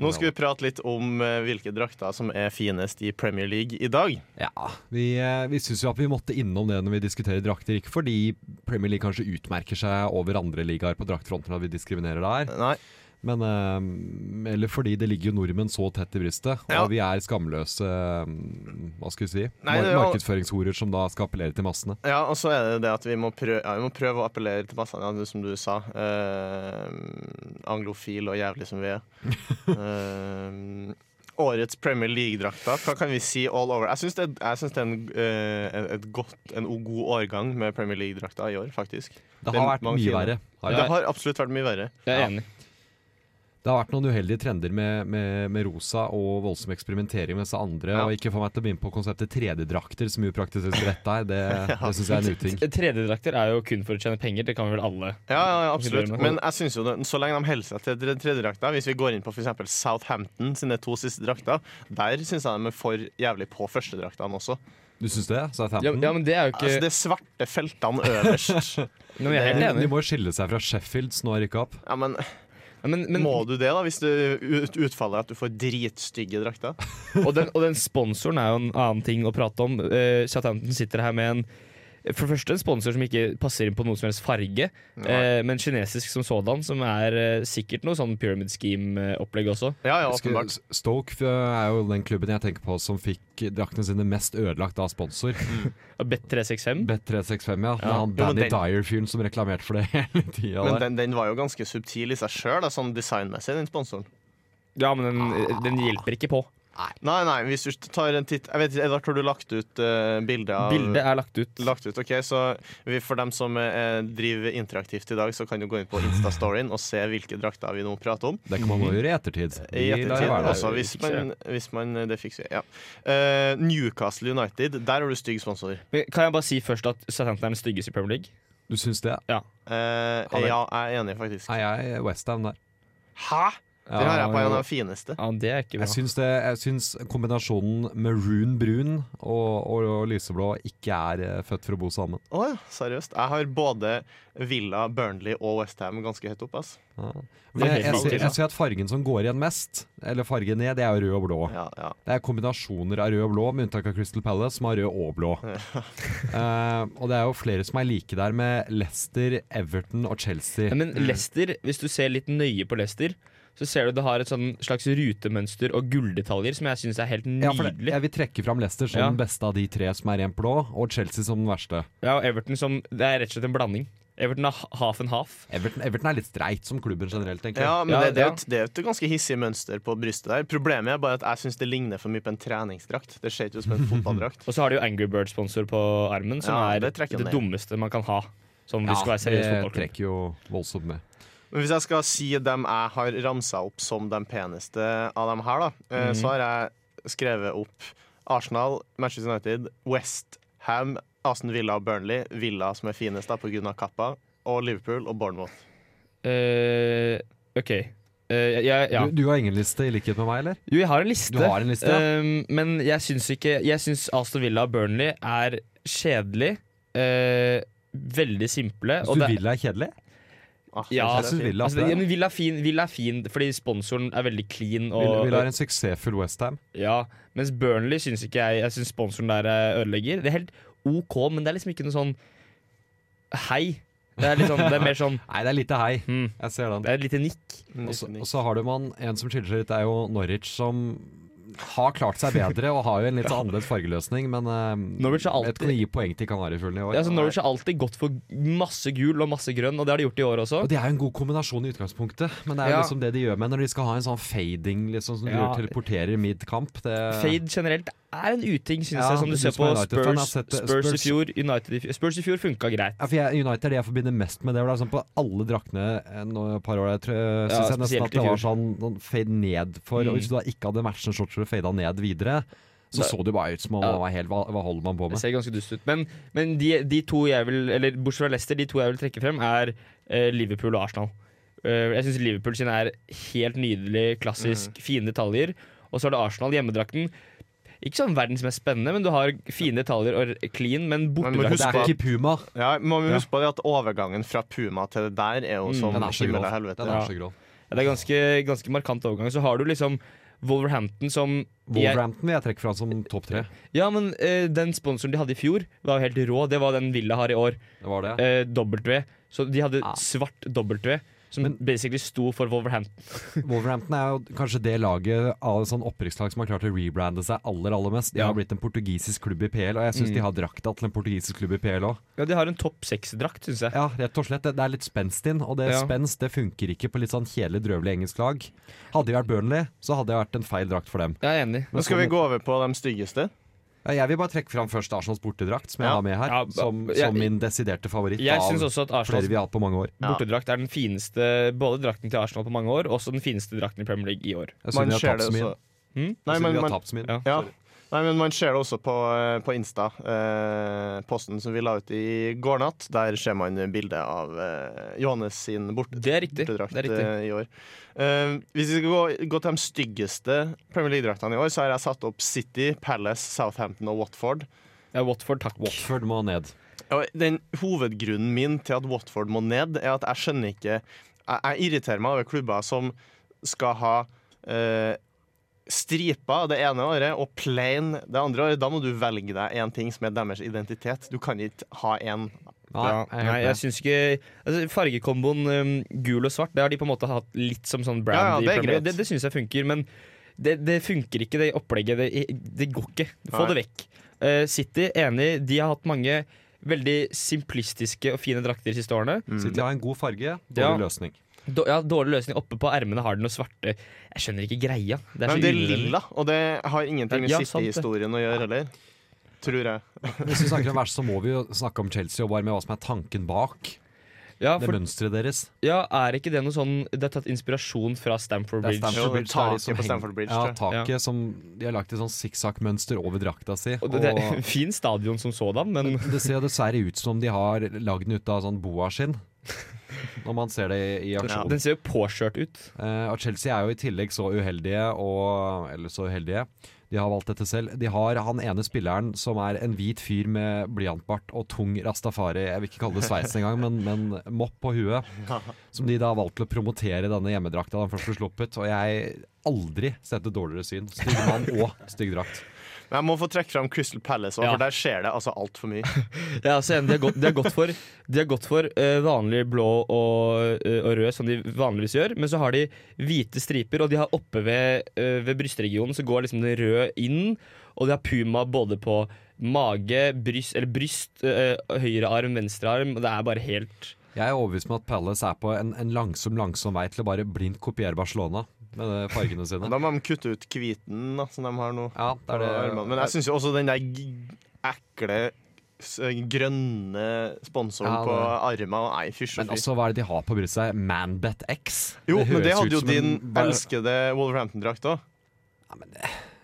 Nå skal vi prate litt om eh, hvilke drakter som er finest i Premier League i dag. Ja, vi, eh, vi syns jo at vi måtte innom det når vi diskuterer drakter. Ikke fordi Premier League kanskje utmerker seg over andre ligaer på draktfronten at vi diskriminerer der, Nei, men eh, Eller fordi det ligger jo nordmenn så tett i brystet, og Ja. vi er skamløse eh, Hva skal vi si? Nei, Mar det er jo- markedsføringshorer som da skal appellere til massene. Ja, og så er det det at vi må prøve, ja, vi må prøve å appellere til massene, ja, det som du sa. Eh, anglofil og jævlig som vi [laughs] er. Eh, årets Premier League-drakter, hva kan vi si all over? Jeg syns det, er- jeg synes det er en, eh, et godt, en o- god årgang med Premier League-drakter i år, faktisk. Det Det har er vært mange mye fine. verre. Har Det det. har absolutt vært mye verre. Jeg er enig. det har vært noen uheldige trender med, med, med rosa og voldsom eksperimentering med disse andre. Ja. Og ikke få meg til å begynne på konseptet 3D-drakter, som jo praktiseres rett der. Det, [laughs] det syns jeg er en uting. 3D-drakter er jo kun for å tjene penger. Det kan vi vel alle. Ja, ja, ja, Ikke absolutt. bedre. Men jeg synes jo det, så lenge de holder seg til tre- tredjedrakta Hvis vi går inn på for eksempel Southampton sine to siste drakter, der syns jeg de er for jævlig på førstedraktene også. Du syns det? Sa jeg 15? Ja, ja, men det er jo ikke Altså, det er svarte feltene øverst. Nå, men jeg er De, helt enig. de må jo skille seg fra Sheffield, som nå har rykka opp. [laughs] Ja, men, Ja, Men, men, Må du det, da, hvis det ut- utfallet er at du får dritstygge drakter? og, den, og den sponsoren er jo en annen ting å prate om. Eh, Southampton sitter her med en for det første en sponsor som ikke passer inn på noen som helst farge, eh, men kinesisk som sådan, som er eh, sikkert noe sånn pyramid scheme-opplegg også. Ja, ja, Skulle- åpenbart. Stoke eh, er jo den klubben jeg tenker på som fikk draktene sine mest ødelagt av sponsor. Bet365. [laughs] Bet365, ja. Med han Mhm. Jo, men Danny den- Dyer-fyren som reklamerte for det [laughs] hele Men tida. den, den var jo ganske subtil i seg sjøl, sånn designmessig, den sponsoren. Ja, men den, den hjelper ikke på. Nei, nei, hvis du tar en titt Jeg vet ikke, Edvard, har du lagt ut uh, bilde av Bildet er lagt ut. Lagt ut, ok, så vi, For dem som eh, driver interaktivt i dag, så kan du gå inn på Instastoryen og se hvilke drakter vi nå prater om. Det kan man nå gjøre i ettertid. I Vi lar det ettertid, altså. være der. også, hvis man, hvis man Det fikser vi. Ja. Eh, Newcastle United, der har du stygg sponsor. Men Kan jeg bare si først at Southampton er den styggeste i Premier League? Du syns det? Eh, vel. ja, jeg er enig, faktisk. Nei, jeg er Westham der. Hæ?! Den har jeg på en av Ja, de fineste. Ja, det er ikke bra. jeg syns, det, jeg syns kombinasjonen maroon-brun og, og, og lyseblå ikke er eh, født for å bo sammen. Å ja, seriøst. Jeg har både Villa, Burnley og Westham ganske høyt opp. ass. Men jeg, jeg, helt ser- riktig, ja. jeg ser at fargen som går igjen mest, eller fargen ned, det er jo rød og blå. Ja, ja. Det er kombinasjoner av rød og blå, med unntak av Crystal Palace, som har rød og blå. [laughs] Eh, og det er jo flere som er like der, med Leicester, Everton og Chelsea. Ja, Men Leicester, hvis du ser litt nøye på Leicester, så ser du det har et sånn slags rutemønster og gulldetaljer som jeg syns er helt Ja, for det, nydelig. Ja, jeg vil trekke fram Leicester som Ja. den beste av de tre som er rent blå, og Chelsea som den verste. og Everton som Det er rett og slett en blanding. Everton er ha- half and half. Everton, Everton er litt streit som klubben generelt, tenker ja, jeg. men Ja, det, det, er jo ja. et, det er jo et ganske hissig mønster på brystet der. Problemet er bare at jeg syns det ligner for mye på en treningsdrakt. Det ser ikke ut som en fotballdrakt. Og så har de jo Angry Bird-sponsor på armen, som Ja, er det det, trekker ned. dummeste man kan ha. Sånn hvis du skal være seriøs det fotballklubb. trekker jo voldsomt med. Men hvis jeg skal si dem jeg har ramsa opp som de peneste av dem her, da, eh, Mhm. så har jeg skrevet opp Arsenal, Manchester United, Westham, Aston Villa og Burnley. Villa som er finest da, på grunn av kappa. Og Liverpool og Bournemouth. Eh, OK. Eh, jeg, ja. Du, du har ingen liste, i likhet med meg, eller? Jo, jeg har en liste. Du har en liste, ja. Ehm, men jeg syns ikke Jeg syns Aston Villa og Burnley er kjedelig. eh, veldig simple. Hvis og du det- vil er kjedelig? Ah, det er Ja, Jeg synes fint. Villa Altså, er- ja, men Villa er fin, Villa er fin fordi sponsoren er veldig clean. Og, Vil, vil være en suksessfull Westham. ja, mens Burnley syns ikke jeg Jeg synes sponsoren der eh, ødelegger. Det er helt OK, men det er liksom ikke noe sånn hei. Det er, liksom, det er mer sånn Nei, det er lite hei. mm, Jeg ser den. Det er et lite nikk. Og så- og så har du man en som skiller seg litt, det er jo Norwich som har klart seg bedre og har jo en litt [laughs] sånn annerledes fargeløsning, men eh, Norwich har jeg vet ikke om de gir poeng til Kanarifuglene i år. Ja, altså, Norwich har alltid gått for masse gul og masse grønn, og det har de gjort i år også. Og Det er jo en god kombinasjon i utgangspunktet, men det er jo Ja. liksom det de gjør med når de skal ha en sånn fading liksom, som du Ja. teleporterer mid-kamp. Det, Fade generelt er en uting, synes Ja, jeg, som du du ser som på er United-fan har Spurs, sett det. Spurs i Spurs- fjor. United i fjor. Spurs i fjor funka greit. ja, for jeg, United er det jeg forbinder mest med det. hvor Det er sånn På alle draktene eh, nå et par år jeg tror, eh, synes jeg nesten spesielt at det i var fjor. sånn noen fade ned for Og Mm. Hvis du da ikke hadde matchen short, så fada ned videre, så Da- så det bare ut som om Ja. man var helt, hva, hva holder man på Det med? ser ganske dust ut. Men, men de, de to jeg vil Eller bortsett fra Leicester, de to jeg vil trekke frem, er eh, Liverpool og Arsenal. Eh, jeg syns Liverpool sine er helt nydelig, klassisk, fine detaljer. Og så er det Arsenal, hjemmedrakten. Ikke sånn verdens mest spennende, men du har fine detaljer og r- clean, men Men du må Og det huske bortedrakten er på- ikke Puma. Ja, man må huske på det at overgangen fra Puma til det der er jo Mm. som Den er så himmel grov. og helvete. Den Ja. er så grov. ja, Det er ganske, ganske markant overgang. Så har du liksom Wolverhampton som jeg- Wolverhampton vil jeg trekke fram som topp tre. Ja, men eh, den sponsoren de hadde i fjor, var jo helt rå. Det var den Villa har i år. Det var det. Eh, W. Så de hadde Ja. svart W, som Ah. Men- basically sto for Wolverhampton. Wolverhampton er jo kanskje det laget av sånn opprykkslag som har klart å rebrande seg aller aller mest. De Ja. har blitt en portugisisk klubb i PL, og jeg syns Mm. de har drakta til en portugisisk klubb i PL òg. Ja, de har en topp seks-drakt, syns jeg. Ja, rett og slett. Det, det er litt spenst inn, og det Ja. spenst det funker ikke på litt sånn kjedelig, drøvelig engelsk lag. Hadde de vært Burnley, så hadde det vært en feil drakt for dem. Jeg er enig. Nå skal vi gå over på de styggeste. Ja, jeg vil bare trekke fram først Arsenals bortedrakt, som jeg Ja. har med her, Ja, som, jeg- som min desiderte favoritt Jeg syns av også at flere Arsenals vi har hatt på mange år. bortedrakt er den fineste Både drakten til Arsenal på mange år, og også den fineste drakten i Premier League i år. Jeg Man synes vi ser har det tapt så mye. også. Hm? Nei, Jeg synes men vi har man, tapt så mye. Ja. ja. Nei, men man ser det også på, eh, på Insta. Eh, posten som vi la ut i går natt. Der ser man bilde av eh, Johannes sin borte, Det er riktig. bortedrakt Det er riktig. eh, i år. Eh, hvis vi skal gå, gå til de styggeste Premier League-draktene i år, så har jeg satt opp City, Palace, Southampton og Watford. Ja, Watford, takk. Watford må ned. Og den Hovedgrunnen min til at Watford må ned, er at jeg skjønner ikke Jeg, jeg irriterer meg over klubber som skal ha eh, striper det ene året og plain det andre året. Da må du velge deg én ting som er deres identitet. Du kan ikke ha én. Nei, jeg er Ja, helt nei, jeg med. syns ikke altså, Fargekomboen um, gul og svart Det har de på en måte hatt litt som sånn brand. Ja, ja, det i er Premier League. greit. det, det syns jeg funker, men det, det funker ikke, det opplegget. Det, det går ikke. Få Nei. det vekk. Eh, City, enig. De har hatt mange veldig simplistiske og fine drakter de siste årene. City har en god farge, dårlig Ja. løsning. Dår- ja, dårlig løsning. Oppe på ermene har de noe svarte Jeg skjønner ikke greia. Det er Men så det er unødvendig. lilla, og det har ingenting med Ja, sant det. City-historien å gjøre heller. Tror jeg. Hvis vi snakker om verst, så må vi jo snakke om Chelsea og bare med hva som er tanken bak. Ja, Det for, mønsteret deres. ja, er ikke det noe sånn Det er tatt inspirasjon fra Stamford Det er Bridge. Jo, Stamford det er Bridge. det er taket de på som henger- Stamford Bridge, Ja, tror taket som De har lagt et sånn sikksakk-mønster over drakta si. Og det, det er og en [laughs] fin stadion som sådan, men det ser jo dessverre ut som de har lagd den ut av sånn boaskinn. Når man ser det i, i aksjon. [laughs] den ser jo påkjørt ut. Eh, og Chelsea er jo i tillegg så uheldige og Eller så uheldige. De har valgt dette selv. De har han ene spilleren som er en hvit fyr med blyantbart og tung rastafari. Jeg vil ikke kalle det sveis engang, men, men mopp på huet. Som de da har valgt til å promotere denne hjemmedrakta da den først ble sluppet. Og jeg aldri sett et dårligere syn. Stygg mann og stygg drakt. Men jeg må få trekke fram Crystal Palace, også, Ja. for der skjer det altså altfor mye. [laughs] Jeg er også enig. De har gått, de har gått for, de har gått for eh, vanlig blå og, eh, og rød, som de vanligvis gjør. Men så har de hvite striper, og de har oppe ved, eh, ved brystregionen så går liksom den røde inn. Og de har puma både på mage, bryst, eller bryst eh, høyre arm, venstre arm. Og det er bare helt Jeg er overbevist om at Palace er på en, en langsom, langsom vei til å bare blindt kopiere Barcelona med de fargene sine. Da må de kutte ut hviten da, som de har nå. Ja, det er det. Men jeg syns jo også den der g- ekle s- grønne sponsoren Ja, på det- armen Nei, fysj Men og fy. også, hva er det de har på brystet? Manbet X? Jo, men det høres ut hadde jo som din en bare- elskede Wolverhampton-drakt òg.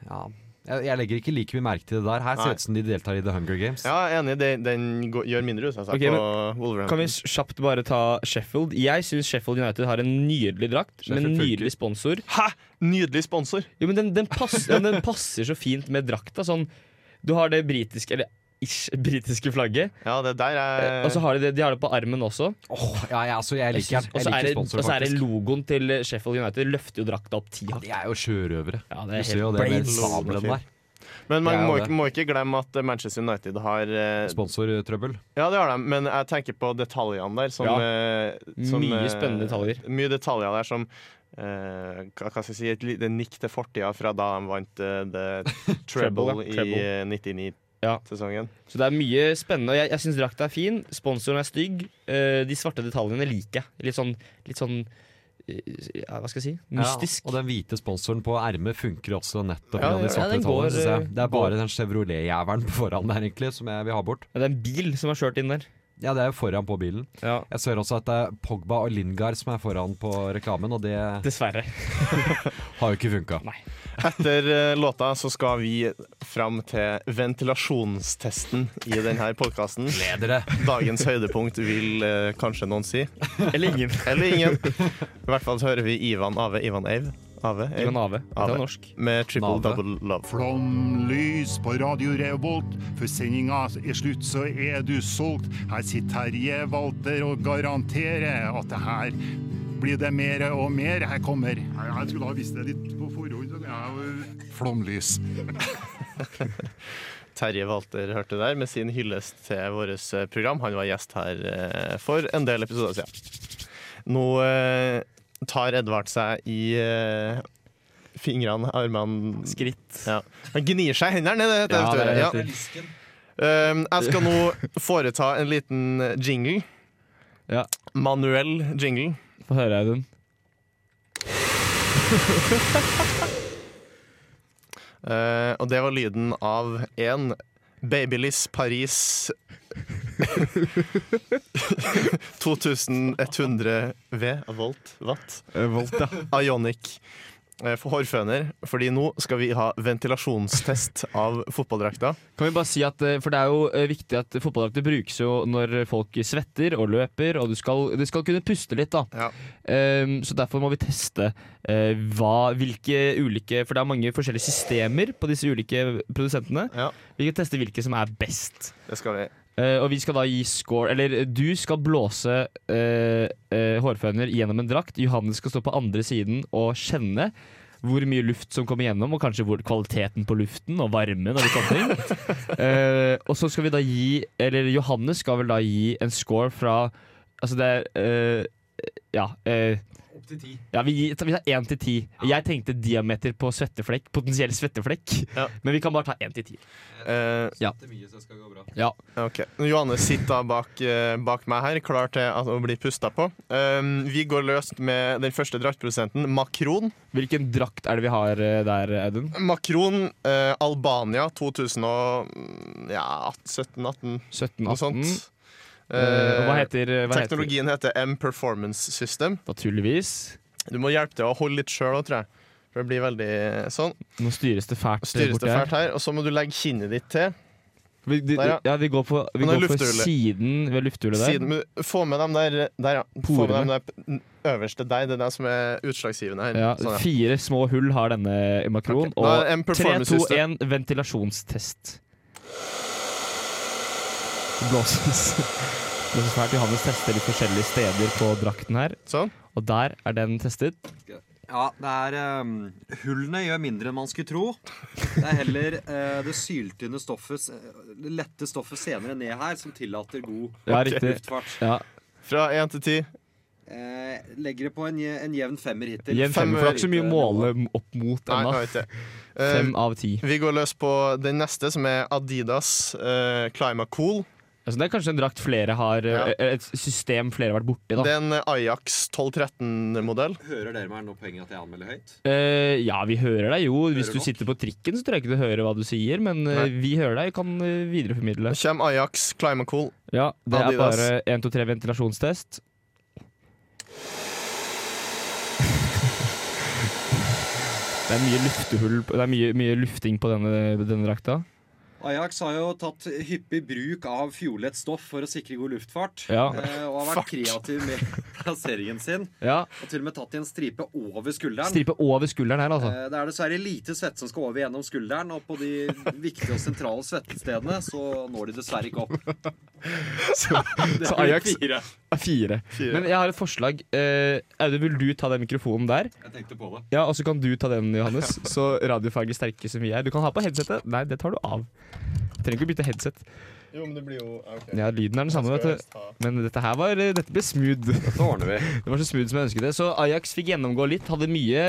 ja. jeg, jeg legger ikke like mye merke til det der. Her ser Nei. det ut som de deltar i The Hunger Games. Ja, jeg er enig, den, den går- gjør mindre ut av seg Ok, men på Kan vi Wolverhampton. kjapt bare ta Sheffield? Jeg syns Sheffield United har en nydelig drakt, med Sheffield funker. nydelig sponsor. Hæ! Nydelig sponsor! Jo, men den, den, passer, ja, den passer så fint med drakta. Sånn, du har det britiske, eller ish, britiske flagget. Ja, det der Eh, er altså, Og så har de det, de har det på armen også. Åh, ja, ja, altså, jeg Jeg liker synes- den. Og så Jeg er, liker det- sponsoren, og så er det faktisk. logoen til Sheffield United løfter jo drakta opp ti Ja, hakk. de er jo sjørøvere. Ja, det Du er ser helt jo det med blades. sabelen der. Men man Det er må jo ikke, det. må ikke glemme at eh, Manchester United har eh, Sponsortrøbbel. Ja, det har de, men jeg tenker på detaljene der. Som, Ja. eh, som, Mye eh, spennende detaljer. Mye detaljer der som eh, hva hva skal jeg si, et lite nikk til fortida fra da de vant eh, [laughs] the treble Treble, ja, treble. i eh, 99-sesongen. Så det er mye spennende. Og jeg, jeg syns drakta er fin. Sponsoren er stygg. Eh, de svarte detaljene liker jeg. Litt sånn, litt sånn eh, ja, Hva skal jeg si? Mystisk. Ja, og den hvite sponsoren på ermet funker også nettopp. Ja, gjennom de ja, svarte den går, tallene, synes jeg. eh, det er går. bare den Chevrolet-jævelen på foran der egentlig som jeg vil ha bort. Ja, det er en bil som er kjørt inn der. Ja, det er jo foran på bilen. Ja. Jeg ser også at det er Pogba og Lingard som er foran på reklamen, og det har Dessverre. jo ikke funka. Etter eh, låta så skal vi fram til ventilasjonstesten i denne podkasten. Bedre. Dagens høydepunkt vil eh, kanskje noen si. Eller ingen. Eller ingen. I hvert fall så hører vi Ivan Ave Ivan Ave. Ave, Ave. Ivan Ave. Det Ave. er norsk. Med Triple Nave. Double Love. Flomlys på Radio Revolt, for sendinga er slutt, så er du solgt. Her sitter Terje Walter og garanterer at det her blir det mer og mer. Her kommer Jeg skulle ha visst det litt på forhånd. så kan jeg jo- Flomlys. Terje Walter hørte der med sin hyllest til vårt eh, program. Han var gjest her eh, for en del episoder siden. Nå eh, tar Edvard seg i eh, fingrene, armene Skritt. ja. Han gnir seg i hendene, det heter Ja, det det. er vet du. Ja. Um, jeg skal nå foreta en liten jingle. Ja. Manuell jingle. Få høre, Audun. Eh, og det var lyden av en Babyliss Paris [laughs] 2100 V volt watt. Ionic. eh, For hårføner, fordi nå skal vi ha ventilasjonstest av fotballdrakta. Kan vi bare si at, eh, for Det er jo eh, viktig at fotballdrakter brukes jo når folk svetter og løper, og du skal, du skal kunne puste litt. da. Ja. Ehm, så Derfor må vi teste eh, hva, hvilke ulike For det er mange forskjellige systemer på disse ulike produsentene. Ja. Vi kan teste hvilke som er best. Det skal vi. Eh, og vi skal da gi score Eller eh, du skal blåse eh, eh, hårføner gjennom en drakt. Johannes skal stå på andre siden og kjenne hvor mye luft som kommer gjennom, og kanskje hvor kvaliteten på luften og varmen. Og, litt sånne ting. Eh, og så skal vi da gi Eller Johannes skal vel da gi en score fra Altså det er eh, Ja. eh, ja, vi, gir, vi tar én til ti. Jeg tenkte diameter på svetteflekk. Potensiell svetteflekk. Ja. Men vi kan bare ta én til ti. Eh, Ja. ok. Johanne sitter da bak, eh, bak meg her, klar til at- å bli pusta på. Um, vi går løst med den første draktprodusenten, Makron. Hvilken drakt er det vi har eh, der, Audun? Makron, eh, Albania 2000 og mm, ja, 17-18, 17, noe 18 sånt. Eh, hva Eh, heter hva Teknologien heter M-Performance System. Heter, naturligvis. Du må hjelpe til å holde litt sjøl òg, tror jeg. For det blir veldig sånn. Nå styres det fælt eh, Styres borti det fælt her. her, og så må du legge kinnet ditt til. Vi, de, Der, ja. ja, vi går på, vi Men det er går på lufthullet. siden ved lufthullet der. Siden, men få med dem der, der ja. Få med Porene. dem der p- øverste der. Det er det som er utslagsgivende her. Ja, Sånn, ja. fire små hull har denne makron. Ok, da er det en Og 3, 2, performance-system. 1 ventilasjonstest. Det Blåses. [laughs] Blåses fælt. Johannes tester litt forskjellige steder på drakten her. Sånn. Og der er den testet. Ja, det er ehm, Hullene gjør mindre enn man skulle tro. Det er heller eh, det syltynne stoffet, s- det lette stoffet senere ned her, som tillater god Ja, riktig. luftfart. Ja, Fra én til ti. Eh, legger det på en, je- en jevn femmer hittil. Jevn femmer, for det er ikke så mye å måle opp mot Nei, jeg ennå. vet ikke. Eh, Fem av ti. vi går løs på den neste, som er Adidas eh, Climacool. Altså, det er kanskje en drakt flere har Ja. eh, Et system flere har vært borti, da. Det er en eh, Ajax 1213-modell. Hører dere meg nå poenget at jeg anmelder høyt? Eh, ja, vi hører deg jo. Hvis Hører du nok. sitter på trikken, så tror jeg ikke du hører hva du sier, men eh, Nei. vi hører deg. Kan eh, videreformidle. Nå kommer Ajax Climacool. Ja, det er Adidas. bare 1, 2, 3 ventilasjonstest. [laughs] Det er mye luftehull på- Det er mye, mye lufting på denne, denne drakta. Ajax har jo tatt hyppig bruk av fiolett stoff for å sikre god luftfart. Ja. eh, og har vært kreativ med [laughs] plasseringen sin. Ja, Og til og med tatt i en stripe over skulderen. Stripe over skulderen her, altså. Eh, Det er dessverre lite svette som skal over gjennom skulderen, og på de viktige og [laughs] sentrale svettestedene så når de dessverre ikke opp. Altså, Så Ajax, Fire. Fire. Fire. Men jeg har et forslag. Eh, Audun, vil du ta den mikrofonen der? Jeg tenkte på det. Ja, Og så kan du ta den, Johannes. Så radiofaglig sterke som vi er. Du kan ha på headsetet. Nei, det tar du av. Trenger ikke bytte headset. Jo, men det blir jo ah, ok. Ja, Lyden er den samme, vet du. Men dette her var Dette ble smooth. Dette ordner vi. Det var så smooth som jeg ønsket det. Så Ajax fikk gjennomgå litt. Hadde mye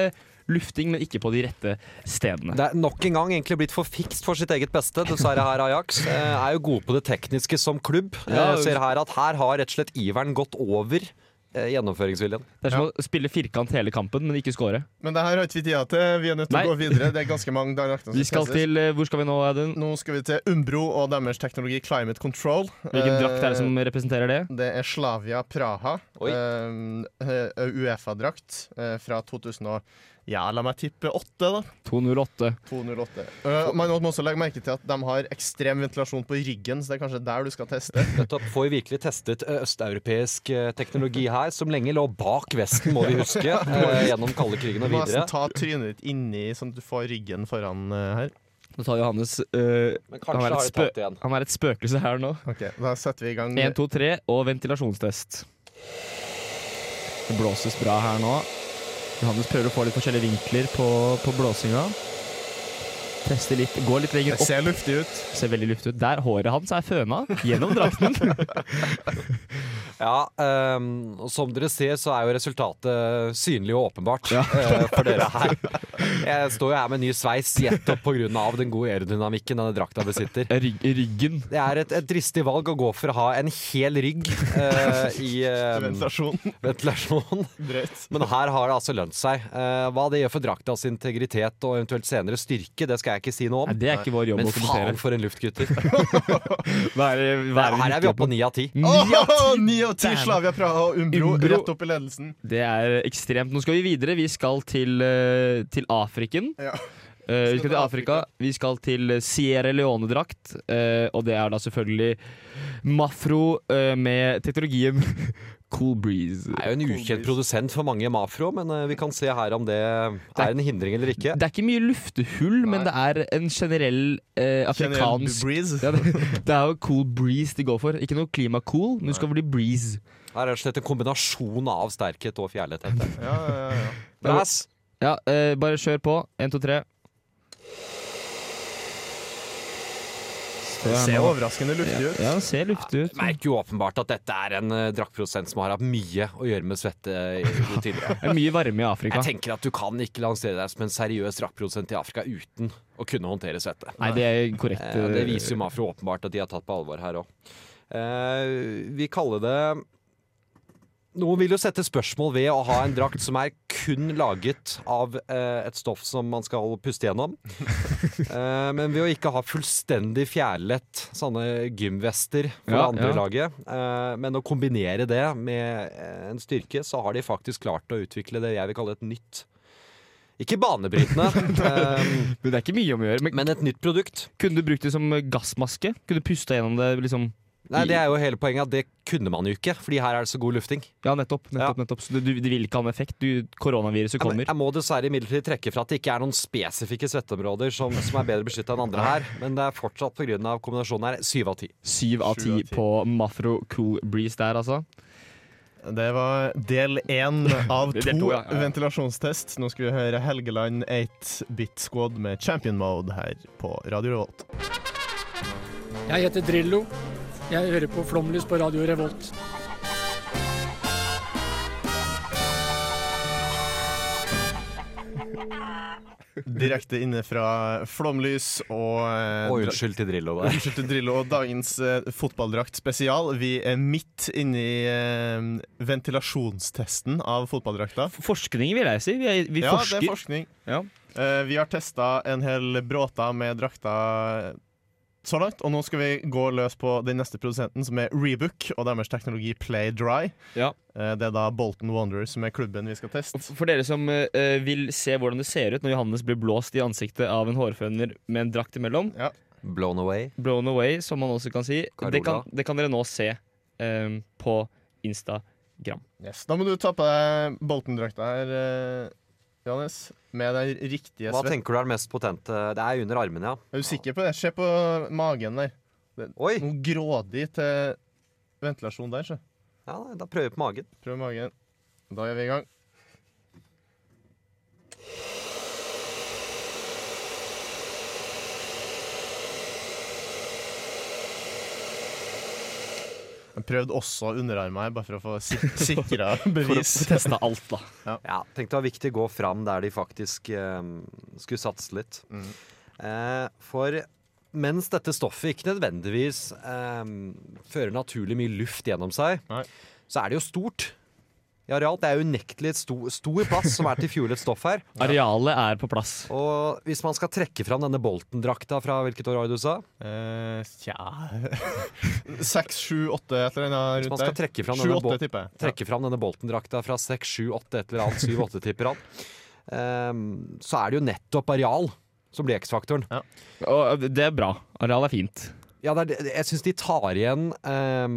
lufting, men ikke på de rette stedene. Det er nok en gang egentlig blitt for fikst for sitt eget beste, dessverre her Ajax. Eh, Er jo gode på det tekniske som klubb. Ja. Eh, Ser her at her har rett og slett iveren gått over eh, gjennomføringsviljen. Det er som å spille firkant hele kampen, men ikke score. Men det her har ikke vi tida til. Vi er nødt til Nei. å gå videre. Det er ganske mange dager akkurat som Vi skal presses. til eh, Hvor skal vi nå, Audun? Nå skal vi til Umbro og deres teknologi Climate Control. Eh, Hvilken drakt er det som representerer det? Det er Slavia Praha. Eh, eh, Uefa-drakt eh, fra 2000 og Ja, la meg tippe 8, da. 208. 208. Eh, man må også legge merke til at de har ekstrem ventilasjon på ryggen, så det er kanskje der du skal teste. Nettopp får vi virkelig testet eh, østeuropeisk eh, teknologi her, som lenge lå bak Vesten, må vi [laughs] huske, eh, gjennom kalde krigen og Du må videre. nesten ta trynet ditt inni, sånn at du får ryggen foran eh, her. Nå tar Johannes eh, kanskje han, er har et de tatt spø- han er et spøkelse her nå. Ok, Da setter vi i gang. 1, 2, 3 og ventilasjonstest. Det blåses bra her nå. Johannes prøver å få litt forskjellige vinkler på, på blåsinga. Tester litt, går litt lenger Det opp. ser luftig ut. Ser veldig luftig ut. Der håret hans er føna gjennom drakten. [laughs] Ja, ehm, og som dere ser så er jo resultatet synlig og åpenbart eh, for dere her. Jeg står jo her med ny sveis, gjettopp pga. den gode aerodynamikken denne drakta besitter. ryggen. Det er et, et dristig valg å gå for å ha en hel rygg eh, i eh, Ventilasjon. ventilasjon. Ehm, Drøyt. Men her har det altså lønt seg. Eh, hva det gjør for draktas integritet og eventuelt senere styrke, det skal jeg ikke si noe om. Nei, det er ikke vår jobb Men å kommentere. faen for en luft, gutter. Her her er vi oppe på ni av ti. Åh, Ni av ti Damn. Slavia Praha og Umbro Umbro. rett opp i ledelsen. Det er ekstremt. Nå skal vi videre. Vi skal til, eh, til Afriken. Eh, vi skal til Afrika. Vi skal til eh, Sierra Leone-drakt. eh, og det er da selvfølgelig Mafro eh, med teknologien [laughs] Cool Breeze. Det er jo en ukjent produsent for mange Mafro, men eh, vi kan se her om det er en hindring eller ikke. Det er ikke mye luftehull, men det er en generell eh, afrikansk breeze. [laughs] ja, det, det er jo cool breeze de går for. Ikke noe klimacool, men du skal bli breeze. Det er rett og slett en kombinasjon av sterkhet og fjærlighet. heter det. Ja, ja, [laughs] ja. Brass. Ja, eh, bare kjør på. Én, to, tre. Det her ser nå. overraskende luftig ut. det ser luftig ut. Merker jo åpenbart at dette er en eh, draktprodusent som har hatt mye å gjøre med svette i- i [laughs] tidligere. Det er mye varme i Afrika. Jeg tenker at du kan ikke lansere deg som en seriøs draktprodusent i Afrika uten å kunne håndtere svette. Nei, det er korrekt. Eh, og det viser jo Mafro åpenbart at de har tatt på alvor her òg. Eh, vi kaller det Noen vil jo sette spørsmål ved å ha en drakt som er kun laget av eh, et stoff som man skal puste [laughs] gjennom. Eh, men ved å ikke ha fullstendig fjærlett, sånne gymvester for Ja, det andre ja. laget, eh, men å kombinere det med eh, en styrke, så har de faktisk klart å utvikle det jeg vil kalle et nytt Ikke banebrytende, [laughs] eh, Men det er ikke mye om å gjøre. Men, et nytt produkt. Kunne du brukt det som gassmaske? Kunne du pusta gjennom det liksom Nei, Det er jo hele poenget at det kunne man jo ikke, fordi her er det så god lufting. Ja, nettopp. nettopp, nettopp. Så du, du, det vil ikke ha en effekt. Du, koronaviruset Jeg, kommer. jeg må dessverre imidlertid trekke fra at det ikke er noen spesifikke svetteområder som, som er bedre beskytta enn andre her, men det er fortsatt pga. kombinasjonen her syv av ti. Syv av ti på Mafro Cool Breeze der, altså. Det var del én av [laughs] Det to, er del to, ja, ja, ja. ventilasjonstest. Nå skal vi høre Helgeland 8-bit squad med champion mode her på Radio Revolt. Jeg heter Drillo. Jeg hører på Flomlys på Radio Revolt. Direkte inne fra Flomlys og eh, Og unnskyld til Drillo der. Unnskyld til Drillo og dagens eh, fotballdrakt spesial. Vi er midt inne i eh, ventilasjonstesten av fotballdrakta. Forskning, vil jeg si. Vi, er, vi ja, forsker. det er forskning. Ja. Eh, vi har testa en hel bråta med drakter så langt, og nå skal vi gå løs på den neste produsenten, som er Rebook og deres teknologi Play Dry. Ja. Eh, det er da Bolton Wanderers som er klubben vi skal teste. For dere som eh, vil se hvordan det ser ut når Johannes blir blåst i ansiktet av en hårføner med en drakt imellom, Blown away. Blown away, som man også kan si. Det kan, Carola. det kan dere nå se eh, på Instagram. Yes. Da må du ta på deg Bolton-drakta her, eh, Johannes. Med den riktige Hva svett- tenker du er det mest potente? Det er under armene, ja. Er du sikker på det? Se på magen der. Det, Oi. Noe grådig til ventilasjon der, så. Ja, da prøver vi på magen. Prøv magen. Da er vi i gang. Jeg prøvde også underarmen her, bare for å få [laughs] sik sikra bevis. alt, [laughs] da. Ja. tenkte det var viktig å gå fram der de faktisk eh, skulle satse litt. Eh, for mens dette stoffet ikke nødvendigvis eh, fører naturlig mye luft gjennom seg, så er det jo stort. I areal, Det er unektelig et sto, stor plass som er til fuelet stoff her. Arealet er på plass. Og hvis man skal trekke fram denne Bolten-drakta fra hvilket år var det du sa? Eh, tja Seks, sju, åtte, et eller annet Hvis rundt man skal der. trekke Sju, fram denne, åtte, Bol- tipper jeg. trekke fram denne Bolten-drakta fra 6, 7, 8, et eller annet, 7, 8, tipper han, ehm, så er det jo nettopp areal som blir X-faktoren. Og det er bra. Areal er fint. Ja, det er, det- jeg syns de tar igjen ehm,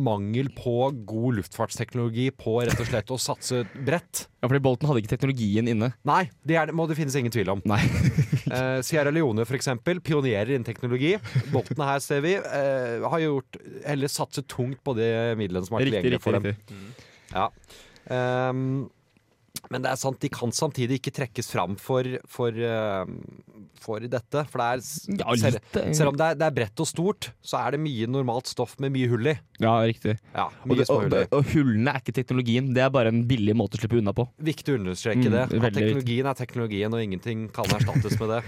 mangel på god luftfartsteknologi på rett og slett å satse bredt. Ja, fordi Bolten hadde ikke teknologien inne. [laughs] Nei, det, er, det må det finnes ingen tvil om. Eh, Sierra Leone for eksempel, pionerer innen teknologi. Bolten her ser vi eh, har gjort, heller satset tungt på de midlene som er Riktig, tilgjengelige for riktig, dem. Ja. Ehm, men det er sant, de kan samtidig ikke trekkes fram for, for, ehm, for dette. For det er, s- Ja, selv, litt. eh. selv om det er, det er bredt og stort, så er det mye normalt stoff med mye hull i. Ja, riktig. Ja, og, mye det, små og, huller. og hullene er ikke teknologien. Det er bare en billig måte å slippe unna på. Viktig å understreke Mm, det. At veldig teknologien er teknologien, og ingenting kan erstattes med [laughs] det.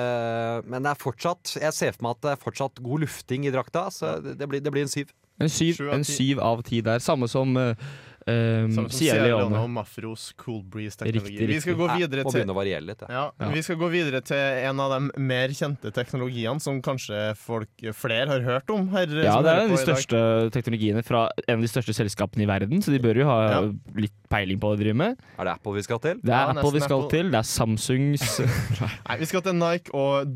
Eh, men det er fortsatt jeg ser for meg at det er fortsatt god lufting i drakta, så det, det, blir, det blir en syv. En syv, en syv av ti der. Samme som uh, Mm. Samme som Sierra Leone og Mafros Cool Breeze-teknologi. Riktig, Vi skal riktig. gå Ja, videre må til begynne å variere litt, ja. ja. Ja. Vi skal gå videre til en av de mer kjente teknologiene som kanskje folk flere har hørt om. Her, Ja, som det er hører en av på de i dag. største teknologiene fra en av de største selskapene i verden, så de bør jo ha Ja. litt peiling på hva de driver med. Er det Apple vi skal til? Det er Ja, Apple vi nesten skal Apple. til, det er Samsungs [laughs] Nei, vi skal til Nike og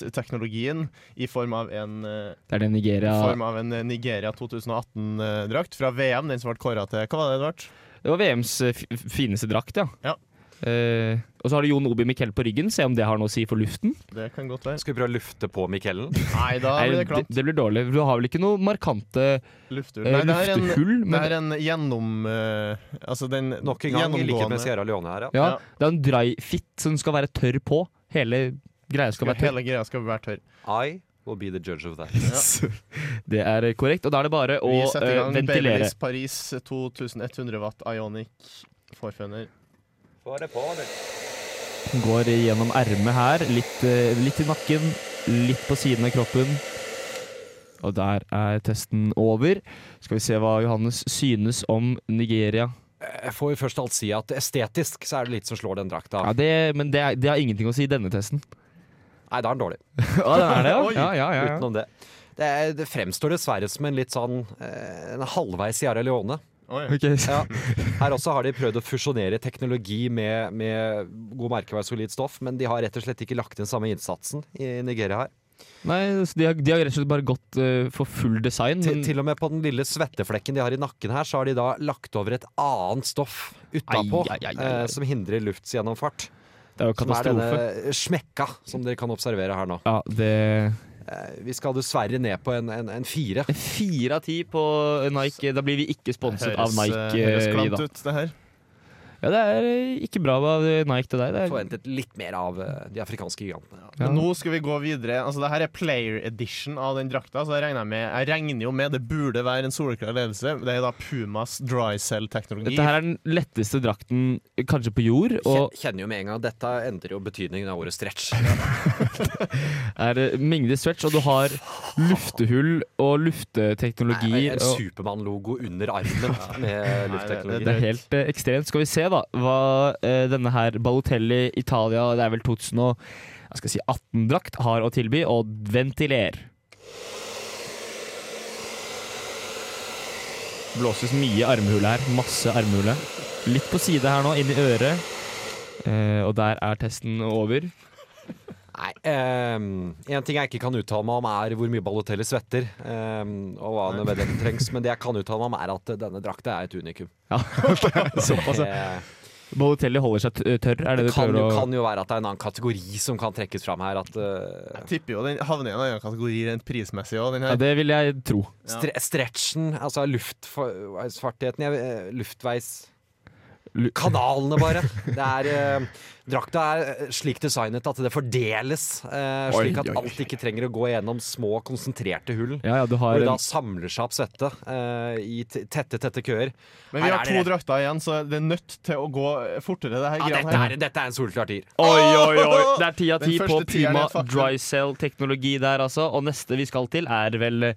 Dryfit-teknologien i form av en eh, Det er det i Nigeria form av en eh, Nigeria 2018-drakt fra VM, den som ble kåra til Hva var det, Edvard? Det var VMs eh, fi- fineste drakt, ja. Eh, og så har du Jon Obi Miquel på ryggen, se om det har noe å si for luften. Det kan godt [laughs] være. Skal vi prøve å lufte på Mikkelen? Nei, da Nei, blir det klamt. det blir dårlig. Du har vel ikke noe markante Lufthull. eh, Nei, det er en, luftehull? det men- er en gjennom... eh, altså den Nok en gang, i likhet med Sierra Leone her, ja, Det er en dry fit som skal være tørr på. Hele greia skal være [laughs] tørr. Hele greia skal være tørr. I will be the judge of that. Det er eh, korrekt. Og da er det bare å Vi setter i eh, gang ventilere. Baileys Paris 2100 watt Ionic forføner. Få det på, du. Går gjennom ermet her. Litt, eh, litt i nakken, litt på siden av kroppen. Og der er testen over. Skal vi se hva Johannes synes om Nigeria. Jeg får jo først alt si at estetisk så er det litt som slår den drakta. Ja, det, men det, er, det har ingenting å si i denne testen. Nei, da er den dårlig. [laughs] Ja, den er det, ja. Oi, ja, ja, ja, ja. Utenom det. Det, er, det fremstår dessverre som en litt sånn eh, en halvveis Sierra Leone. Oi. Ok. Ja. Her også har de prøvd å fusjonere teknologi med, med god merkevare solid stoff, men de har rett og slett ikke lagt inn samme innsatsen i Nigeria her. Nei, så de har, de har rett og slett bare gått eh, for full design. Til, Men til og med på den lille svetteflekken de har i nakken her, så har de da lagt over et annet stoff utapå Ai, ai, ai, ai, ai. eh, som hindrer luftsgjennomfart. det er Som jo er katastrofe. denne smekka som dere kan observere her nå. Ja, det Eh, Vi skal dessverre ned på en, en, en fire. Fire av ti på eh, Nike. Da blir vi ikke sponset av Høres, eh, Nike. høres eh, vi klamt da. ut, det her. Ja, det er eh, ikke bra av Nike til deg. Det er, Forventet litt mer av eh, de afrikanske gigantene. Ja. Men Nå skal vi gå videre. Altså, det her er player edition av den drakta. Så jeg regner, jeg med, jeg regner jo med det burde være en soleklar ledelse. Det er da Pumas dry cell-teknologi. dette her er den letteste drakten eh, kanskje på jord, og Kjen- Kjenner jo med en gang at dette endrer jo betydningen av ordet stretch. er eh, mengde stretch, og du har luftehull og lufteteknologi. En og- Supermann-logo under armen med Det, luftteknologi. er helt eh, ekstremt. Skal vi se da hva eh, denne her Balotelli Italia, det er vel 2018-drakt, har å tilby, og ventiler. Blåses mye armhule her. Masse armhule. Litt på side her nå, inn i øret. Eh, og der er testen over. Nei, ehm, en ting jeg ikke kan uttale meg om, er hvor mye Balotelli svetter. ehm, og hva nødvendigheten trengs. Men det jeg kan uttale meg om, er at denne drakta er et unikum. Ja, [laughs] såpass. ja. Eh, Balotelli holder seg t- tørr, er det Det du kan prøver jo, å kan jo være at det er en annen kategori som kan trekkes fram her. At, eh, Jeg tipper jo den havner i en annen kategori rent prismessig òg, den ja, her. Det vil jeg tro. stre stretchen, altså luftfartigheten jeg, eh, Luftveis Kanalene, [laughs] bare. Det er, eh, drakta er eh, slik designet at det fordeles, eh, Oi, slik at oi, oi. alt ikke trenger å gå gjennom små, konsentrerte hull. Ja, ja, du har hvor det en- da samler seg opp svette eh, i t- tette, tette køer. Men vi Her har to er det rett- drakter igjen, så det er nødt til å gå fortere. det her ja, greiene dette, her. er, dette er en solklar tier. Oi, oi, oi! Det er ti av Den ti på første tieren er et Puma faktum. dry cell-teknologi der, altså. Og neste vi skal til, er vel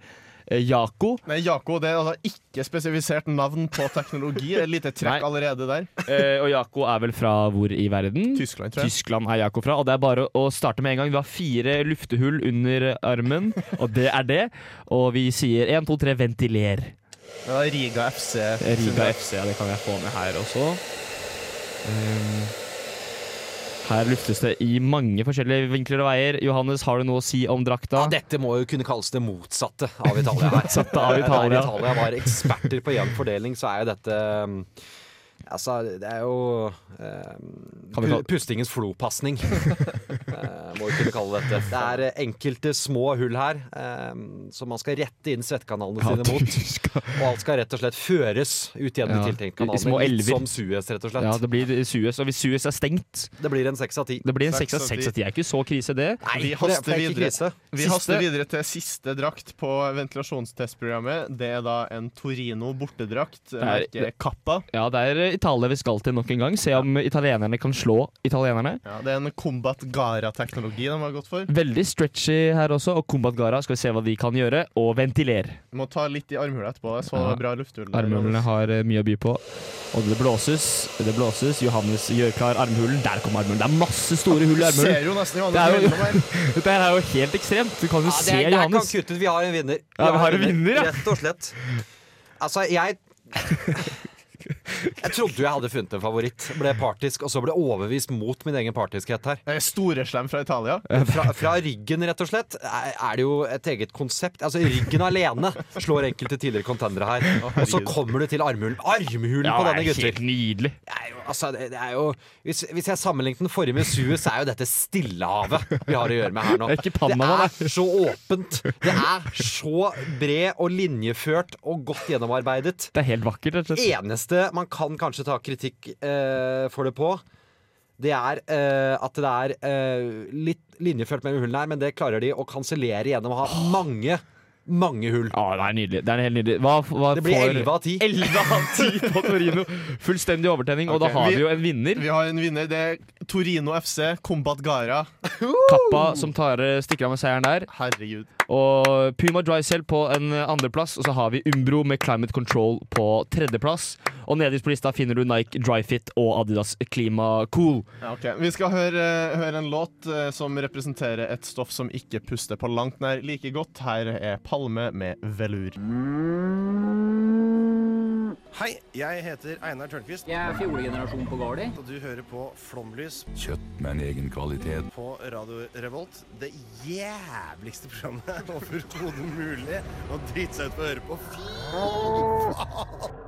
eh, Jaco. Nei, Jako, det er altså ikke spesifisert navn på teknologi. Det er et lite trekk allerede der. Eh, og Jaco er vel fra hvor i verden? Tyskland, tror jeg. Tyskland er Jaco fra. Og det er bare å starte med en gang. Vi har fire luftehull under armen, og det er det. Og vi sier én, to, tre, ventiler. Det er Riga FC. Riga FC, ja, det kan jeg få med her også. Ehm, her luftes det i mange forskjellige vinkler og veier. Johannes, har du noe å si om drakta? Dette må jo kunne kalles det motsatte av Italia her. [laughs] Motsatte av Der Italia. Italia var eksperter på jevn fordeling, så er jo dette um, Altså, det er jo um, Kan vi pu- kalle- pustingens [laughs] flopasning. Eh, må vi kunne kalle dette. Det er eh, enkelte små hull her um, som man skal rette inn svettkanalene Ja, sine mot. Og alt skal rett og slett føres ut gjennom de tiltenkte i- i små kanalene. Litt elver. som Suez, rett og slett. Ja, det blir Suez. Og hvis Suez er stengt, Det blir en seks av ti. det blir en Seks seks av av seks. ti. at De er ikke så krise, det. Nei, Vi det- det haster, er ikke videre. krise. vi Siste. haster videre til siste drakt på ventilasjonstestprogrammet. Det er da en Torino bortedrakt. er- Merket Kappa. Ja, det er eh, Italia vi skal til nok en gang. Se om italienerne kan slå italienerne. Ja, det er en Combat Gara-teknologi de har gått for. Veldig stretchy her også, og Combat Gara skal vi se hva de kan gjøre. Og ventiler. Vi må ta litt i armhullet etterpå. Jeg så det Ja. var bra lufthull. der. Armhulene har eh, mye å by på. Og det blåses. Det blåses. Johannes gjør klar armhulen. Der kom armhulen. Det er masse store hull i Du ser armhulen. jo nesten [laughs] Det er Johannes mellom jo- her. Dette her er jo helt ekstremt. Du kan jo Ja, det, se der kan Johannes. kutte ut. Vi har en vinner. Ja, vi har en vinner, ja. Rett og slett. Altså, jeg Jeg trodde jeg hadde funnet en favoritt. Ble partisk, og så ble overvist mot min egen partiskhet her. Det er Storeslem fra Italia. Fra, fra ryggen, rett og slett, er er det jo et eget konsept. Altså, ryggen alene slår enkelte tidligere contendere her. Og så kommer du til armhulen. Armhulen Ja, på det denne, er gutter! helt nydelig. Det er jo, altså, det, det er jo hvis, hvis jeg sammenlignet den forrige med Suez, så er jo dette Stillehavet vi har å gjøre med her nå. Det er ikke Panama, det er så åpent. Det er så bred og linjeført og godt gjennomarbeidet. Det er helt vakkert, rett og E- slett. Eneste man kan kanskje ta kritikk eh, for det på, det er eh, at det er eh, litt linjeført mellom hullene her, men det klarer de å kansellere gjennom å ha mange, mange hull. Ja, det er nydelig. Det er helt nydelig. Hva, hva Det blir får- 11 av 10. 11 av 10 på Torino. Fullstendig overtenning, og da Ok, har vi- vi jo en vinner. Vi har en vinner. Det er Torino FC, Combat Gara. Kappa som tar, eh, stikker av med seieren der. Herregud. Og Puma Drycell på en eh, andreplass, og så har vi Umbro med Climate Control på tredjeplass. Og nederst på lista finner du Nike Dryfit og Adidas Klima Cool. Ja, ok. Vi skal høre, høre en låt eh, som representerer et stoff som ikke puster på langt nær like godt. Her er Palme med velur. Hei, jeg heter Einar Tørnquist. Jeg er fjolegenerasjon på Gardi. Og du hører på Flomlys Kjøtt med en egen kvalitet. på Radio Revolt. Det jævligste programmet overhodet mulig å drite seg ut på å høre på. Fy faen!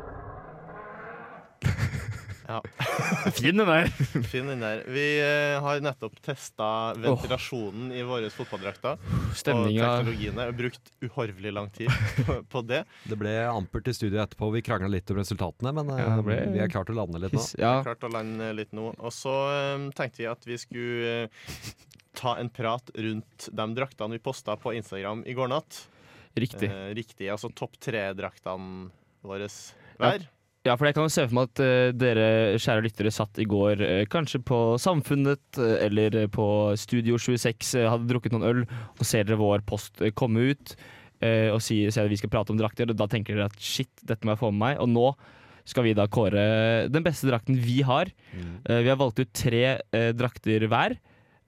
[laughs] Fin den der. Fin den der. Vi eh, har nettopp testa ventilasjonen i våre fotballdrakter. stemninga. Og teknologiene. Vi har brukt uhorvelig lang tid på, på det. Det ble ampert i studio etterpå. Vi krangla litt om resultatene, men eh, Ja, det ble- vi har klart å lande litt nå. Ja. Klart å lande litt nå. Og så eh, tenkte vi at vi skulle eh, ta en prat rundt de draktene vi posta på Instagram i går natt. Riktig. Eh, riktig. Altså topp tre-draktene våre hver. Ja, for jeg kan jo se for meg at eh, dere kjære lyttere satt i går eh, kanskje på Samfunnet eh, eller eh, på Studio 26, eh, hadde drukket noen øl, og ser dere vår post eh, komme ut eh, og sier sier at vi skal prate om drakter, og da tenker dere at shit, dette må jeg få med meg. Og nå skal vi da kåre den beste drakten vi har. Eh, Vi har valgt ut tre eh, drakter hver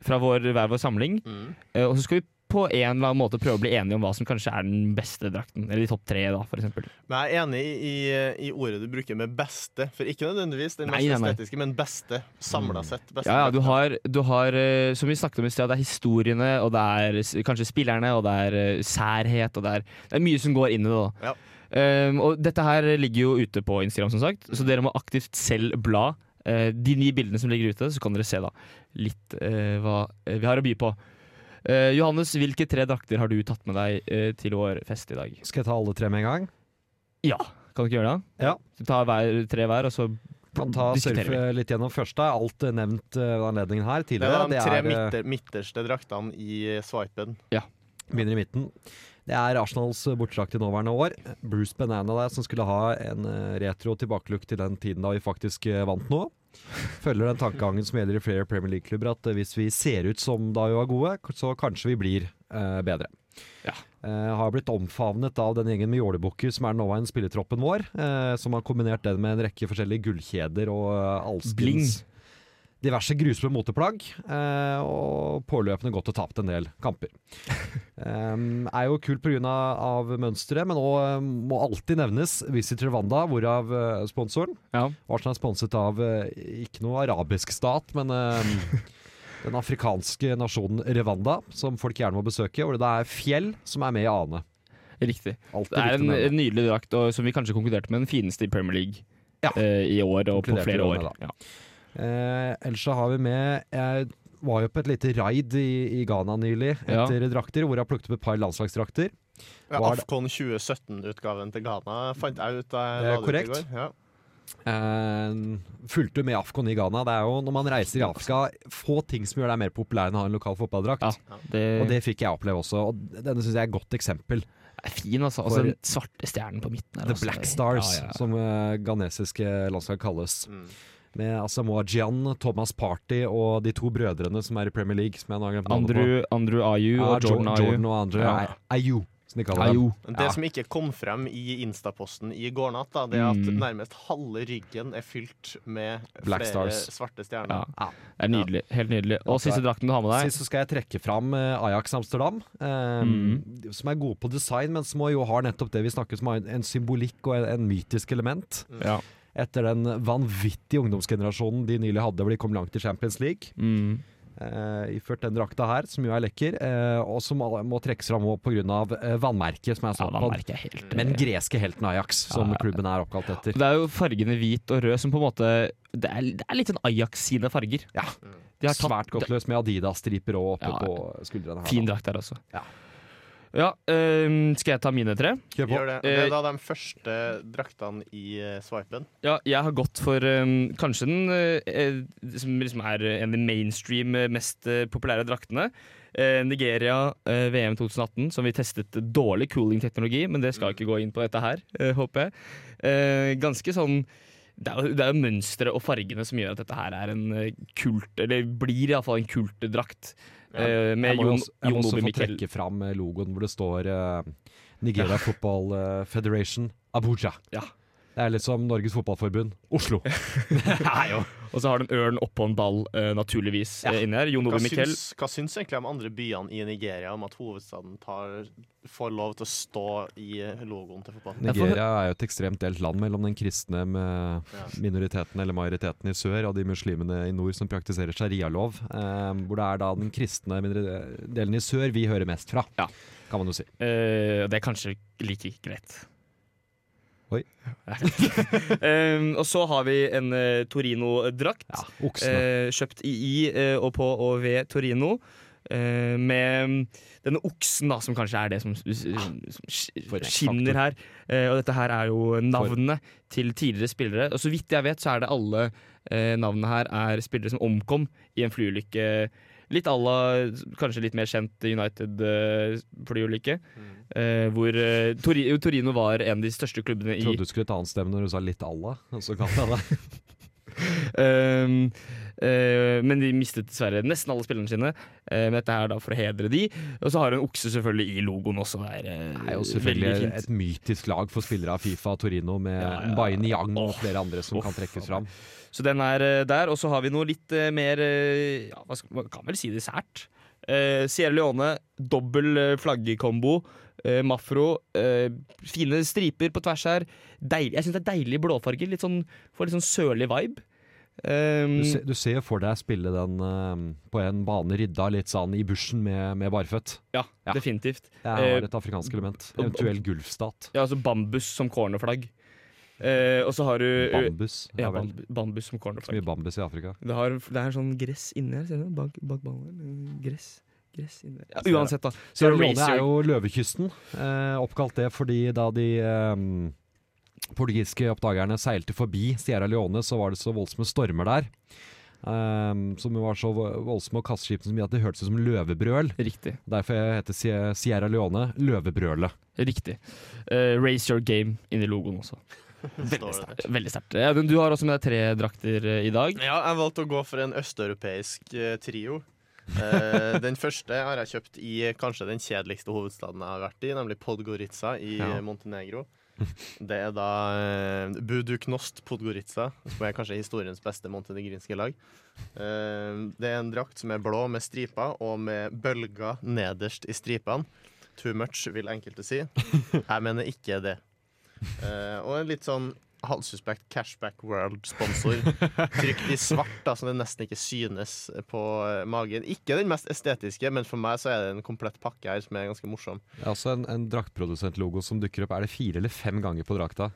fra vår, hver vår samling, Eh, og så skal vi på en eller annen måte prøve å bli enige om hva som kanskje er den beste drakten, eller de topp tre, da, for eksempel. Men jeg er enig i, i, i ordet du bruker med 'beste'. For ikke nødvendigvis den Nei, mest nei, nei. estetiske, men beste. Samla sett. Beste Ja, ja, du drakten. har, du har eh, som vi snakket om i sted, det er historiene, og det er s- kanskje spillerne, og det er eh, særhet, og det er, det er mye som går inn i det. da. Ehm, Ja. Um, og dette her ligger jo ute på Instagram, som sagt, så dere må aktivt selv bla eh, de ni bildene som ligger ute, så kan dere se da litt eh, hva eh, vi har å by på. Eh, Johannes, hvilke tre drakter har du tatt med deg eh, til vår fest i dag? Skal jeg ta alle tre med en gang? Ja. Kan du ikke gjøre det? Ja. Ta hver, tre hver, og så Kan ta surfe litt gjennom først. da. Alt eh, nevnt eh, ved anledningen her Det var tidligere. de tre eh, midter, midterste draktene i swipen. Begynner i midten. Det er Arsenals bortdrakt i nåværende år. Bruce Banana der som skulle ha en eh, retro tilbakelukk til den tiden da vi faktisk eh, vant noe. Følger den tankegangen som gjelder i flere Premier League-klubber, at eh, hvis vi ser ut som da vi var gode, k- så kanskje vi blir eh, bedre. Eh, har blitt omfavnet av den gjengen med jålebukker som er nåværende spillertroppen vår, eh, som har kombinert den med en rekke forskjellige gullkjeder og eh, allskens Bling. diverse grusomme moteplagg, eh, og påløpende gått og tapt en del kamper. Um, er jo kult pga. av mønsteret, men også, um, må alltid nevnes Visitor Wanda, hvorav eh, sponsoren. Arsenal er sponset av eh, ikke noe arabisk stat, men [laughs] um, den afrikanske nasjonen Rwanda, som folk gjerne må besøke, hvor det da er fjell som er med i ane. Riktig. Alltid Det er en, viktig å nevne. en nydelig drakt, og, som vi kanskje konkluderte med den fineste i Premier League eh, i år og på Konkluderte flere vi år. med da. Eh, ellers så har vi med Jeg var jo på et lite raid i, i Ghana nylig Ja. etter drakter, hvor jeg plukket opp et par landslagsdrakter. Ja, Var det- Afcon 2017-utgaven til Ghana fant jeg ut da jeg la Det er det ut i korrekt. går. Ja. Eh, fulgte med Afcon i Ghana. Det er jo Når man reiser i Afrika, få ting som gjør deg mer populær enn å ha en lokal fotballdrakt. det- Og det fikk jeg oppleve også. Og denne syns jeg er et godt eksempel. Fin, altså. altså For- den svarte stjernen på midten. her, The altså. Black Stars, Ja, ja. som eh, ghanesiske landslag kalles. Med Asamoah Gyan, Thomas Party og de to brødrene som er i Premier League. Som jeg nå har glemt navnet Andrew, på. Andrew Ayu Ja, og Jordan Jo- Ayu. Jordan og Andrew Ja. Ay- Ayu, som de kaller dem. Men Det som ikke kom frem i Instaposten i går natt, da, det er at Mm. nærmest halve ryggen er fylt med Black flere Stars. svarte Ja. stjerner. Det er nydelig. Helt nydelig. Og siste drakten du har med deg. Sist så skal jeg trekke fram eh, Ajax Amsterdam, eh, Mm. som er gode på design, men som jo har nettopp det vi snakker om, en- en symbolikk og en, en mytisk element. Ja. Etter den vanvittige ungdomsgenerasjonen de nylig hadde, hvor de kom langt i Champions League. Mm. Eh, iført den drakta her, som jo er lekker, eh, og som alle må trekkes fram pga. Uh, vannmerket som er satt på vannmerket er den. helt, eh, Men greske helten Ajax, som klubben er oppkalt etter. Det er jo fargene hvit og rød som på en måte Det er, det er litt sånn Ajax sine farger. Ja. De har tatt- Svært godt løst med Adidas-striper og oppe Ja. på skuldrene her. Fin da. drakt der også. Ja. øhm, skal jeg ta mine tre? Gjør det. Og det Eh, er da de første draktene i eh, swipen. Ja, jeg har gått for øhm, kanskje den øh, som liksom er en av de mainstream øh, mest øh, populære draktene. Eh, Nigeria eh, VM 2018, som vi testet dårlig cooling-teknologi, men det skal Mm. jeg ikke gå inn på dette her, eh, håper jeg. Eh, ganske sånn det er, jo- det er jo mønsteret og fargene som gjør at dette her er en eh, kult, eller blir iallfall en kultdrakt. eh, jeg må med jo Jon, også, jeg må Jon også Ove få Mikkel. trekke fram eh, logoen hvor det står eh, Nigeria Football eh, Federation Abuja. Det er liksom Norges Fotballforbund Oslo. Og så har du en ørn oppå en ball, eh, naturligvis, eh, inni her. Jon Hva Ove Mikkel. syns, hva syns egentlig de andre byene i Nigeria om at hovedstaden tar, får lov til å stå i eh, logoen til fotballen? Nigeria er jo et ekstremt delt land mellom den kristne med minoriteten eller majoriteten i sør og de muslimene i nord som praktiserer sharialov. eh, hvor det er da den kristne minori- delen i sør vi hører mest fra, kan man jo si. Eh, det er kanskje like greit. Oi. [laughs] Eh, og så har vi en eh, Torino-drakt. oksene. Eh, kjøpt i, i eh, og på og ved Torino. eh, med mm, denne oksen, da, som kanskje er det som, s- s- som sk- for en skinner her. Eh, og dette her er jo navnene til tidligere spillere. Og så vidt jeg vet, så er det alle eh, navnene her er spillere som omkom i en flyulykke. Litt à la kanskje litt mer kjent United-flyulykke. Mm. hvor eh, Tori jo, Torino var en av de største klubbene i Jeg trodde du skulle ta en stemme når du sa litt Allah, og så kalte jeg deg Um, eh, men de mistet dessverre nesten alle spillerne sine. Eh, men dette er da for å hedre de. Og så har hun okse selvfølgelig i logoen også. Det er, eh, Det er jo veldig selvfølgelig fint. et mytisk lag for spillere av Fifa Torino, med Mbaye Niang og flere andre som kan trekkes fram. Så den er eh, der. Og så har vi noe litt eh, mer eh, ja, hva skal, Man kan vel si det sært. Eh, Sierra Leone, dobbel eh, flaggkombo. eh, Mafro. eh, fine striper på tvers her. Deilig, jeg syns det er deilig blåfarge. Litt sånn, får litt sånn sørlig vibe. Um, Du, se, du ser jo for deg spille den eh, på en bane rydda litt sånn i bushen med, med barføtt. ja, definitivt. Det Eh, er et afrikansk element. Eventuell gulfstat. Ja, altså bambus som cornerflagg. Eh, og så har du Bambus, Ja, er vel- bambu- bambus som cornflake. Mye bambus i Afrika. Det, har, det er sånn gress inni her, ser du? det? Bak, bak ballen. her. Gress. Gress inni her. Ja, uansett, da. Så er Sierra det Leone er racer. jo løvekysten. Eh, oppkalt det fordi da de eh, portugisiske oppdagerne seilte forbi Sierra Leone, så var det så voldsomme stormer der. Eh, som var så voldsomme og kasteskipene så mye at det hørtes ut som løvebrøl. Riktig. Derfor heter Sie- Sierra Leone løvebrølet. Riktig. Eh, raise your game inni logoen også. Veldig det sterkt. Veldig sterkt. Ja, men du har også med deg tre drakter eh, i dag. Ja, jeg valgte å gå for en østeuropeisk eh, trio. Eh, den første har jeg kjøpt i eh, kanskje den kjedeligste hovedstaden jeg har vært i, nemlig Podgorica i Ja. eh, Montenegro. Det er da eh, Buduknost Podgorica, som er kanskje historiens beste montenegrinske lag. Eh, det er en drakt som er blå med striper og med bølger nederst i stripene. Too much, vil enkelte si. Jeg mener ikke det. Eh, og en litt sånn halvsuspekt Cashback World-sponsor. Trykt i svart, da, så det nesten ikke synes på eh, magen. Ikke den mest estetiske, men for meg så er det en komplett pakke her som er ganske morsom. Det er også en, en draktprodusentlogo som dukker opp. Er det fire eller fem ganger på drakta?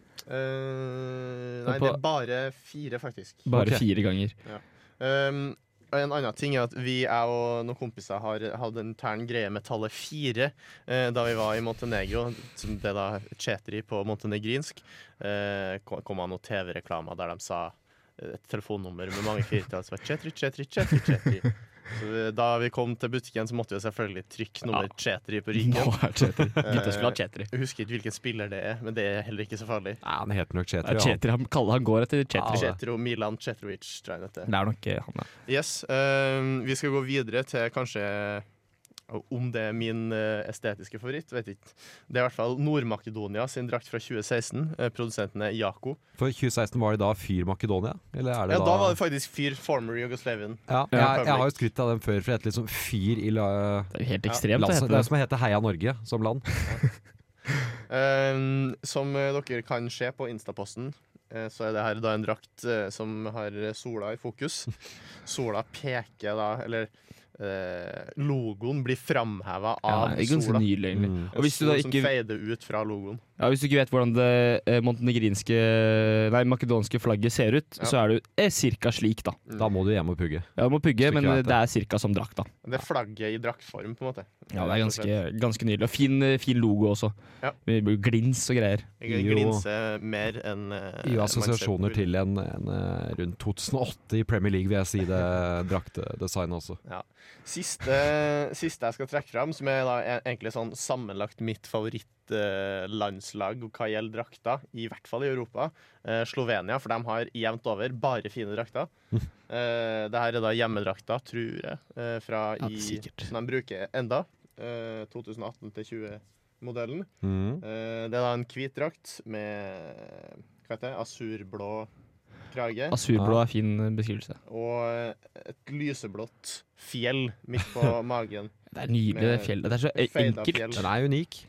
Eh, nei, Og det på- er bare fire, faktisk. Bare Ok. fire ganger. Ja. Um, og en annen ting er at vi, jeg og noen kompiser, har hatt en intern greie med tallet fire eh, da vi var i Montenegro, som det da chetri på montenegrinsk. Eh, kom kom av noen TV-reklamer der de sa eh, et telefonnummer med mange firetall som var chetri, chetri, chetri, chetri. Så vi- da vi kom til butikken, så måtte vi selvfølgelig trykke nummer chetri på ryggen. Nå er det chetri. Gutta skulle ha Eh, chetri. Jeg husker ikke hvilken spiller det er, men det er heller ikke så farlig. Han heter nok Chetri. Ja, Chetri, han, kaller- han går etter Chetri. Chetro, Milan Chetrovic, tror jeg han heter. Det er nok eh, han, da. Yes, ehm, Vi skal gå videre til kanskje om det er min eh, estetiske favoritt, vet ikke. Det er i hvert fall Nord-Makedonia sin drakt fra 2016. Eh, Produsenten er Jaco. For 2016 var det da Fyr Makedonia? Eller er det Ja, da var det faktisk fyr former Jugoslavian. Ja, jeg, jeg har jo skrytt av dem før, for det heter liksom Fyr i la... Det er jo helt Ja. ekstremt, Land, det heter det det. er som heter Heia Norge som land. Ehm, som eh, dere kan se på Instaposten, eh, så er det her da en drakt eh, som har sola i [laughs] fokus. Sola peker da, eller eh, Logoen blir framheva Ja, av det er ganske sola. nydelig, egentlig. Mm. Og Og hvis du da ikke- Som feider ut fra logoen. Ja, Hvis du ikke vet hvordan det eh, montenegrinske Nei, makedonske flagget ser ut, Ja. så er det jo eh, cirka slik, da. Da må du hjem og pugge. Ja, du må pugge, Hvis du ikke men vet det. det er cirka som drakt, da. Det er flagget i draktform, på en måte. Ja, det er ganske, ganske nydelig. Og fin, eh, fin logo også. Ja. Med Glins og greier. Jeg glinser mer enn eh, I man ser på bildet. assosiasjoner til en, en eh, rundt 2008 i Premier League, vil jeg si det draktedesignet også. Ja. Siste, siste jeg skal trekke fram, som er da e- egentlig sånn sammenlagt mitt favorittlandslag hva gjelder drakter, i hvert fall i Europa, eh, Slovenia, for de har jevnt over bare fine [laughs] drakter. Eh, det her er da hjemmedrakta, tror jeg, eh, fra Ja, i, sikkert. som de bruker enda, eh, 2018-20-modellen. Mhm. Eh, det er da en hvit drakt med hva heter det, asurblå krage. Asurblå er fin eh, beskrivelse. Og eh, et lyseblått fjell midt [laughs] på magen. Det er nydelig, det fjellet. Det er så e- feida enkelt. fjell. Den er unik.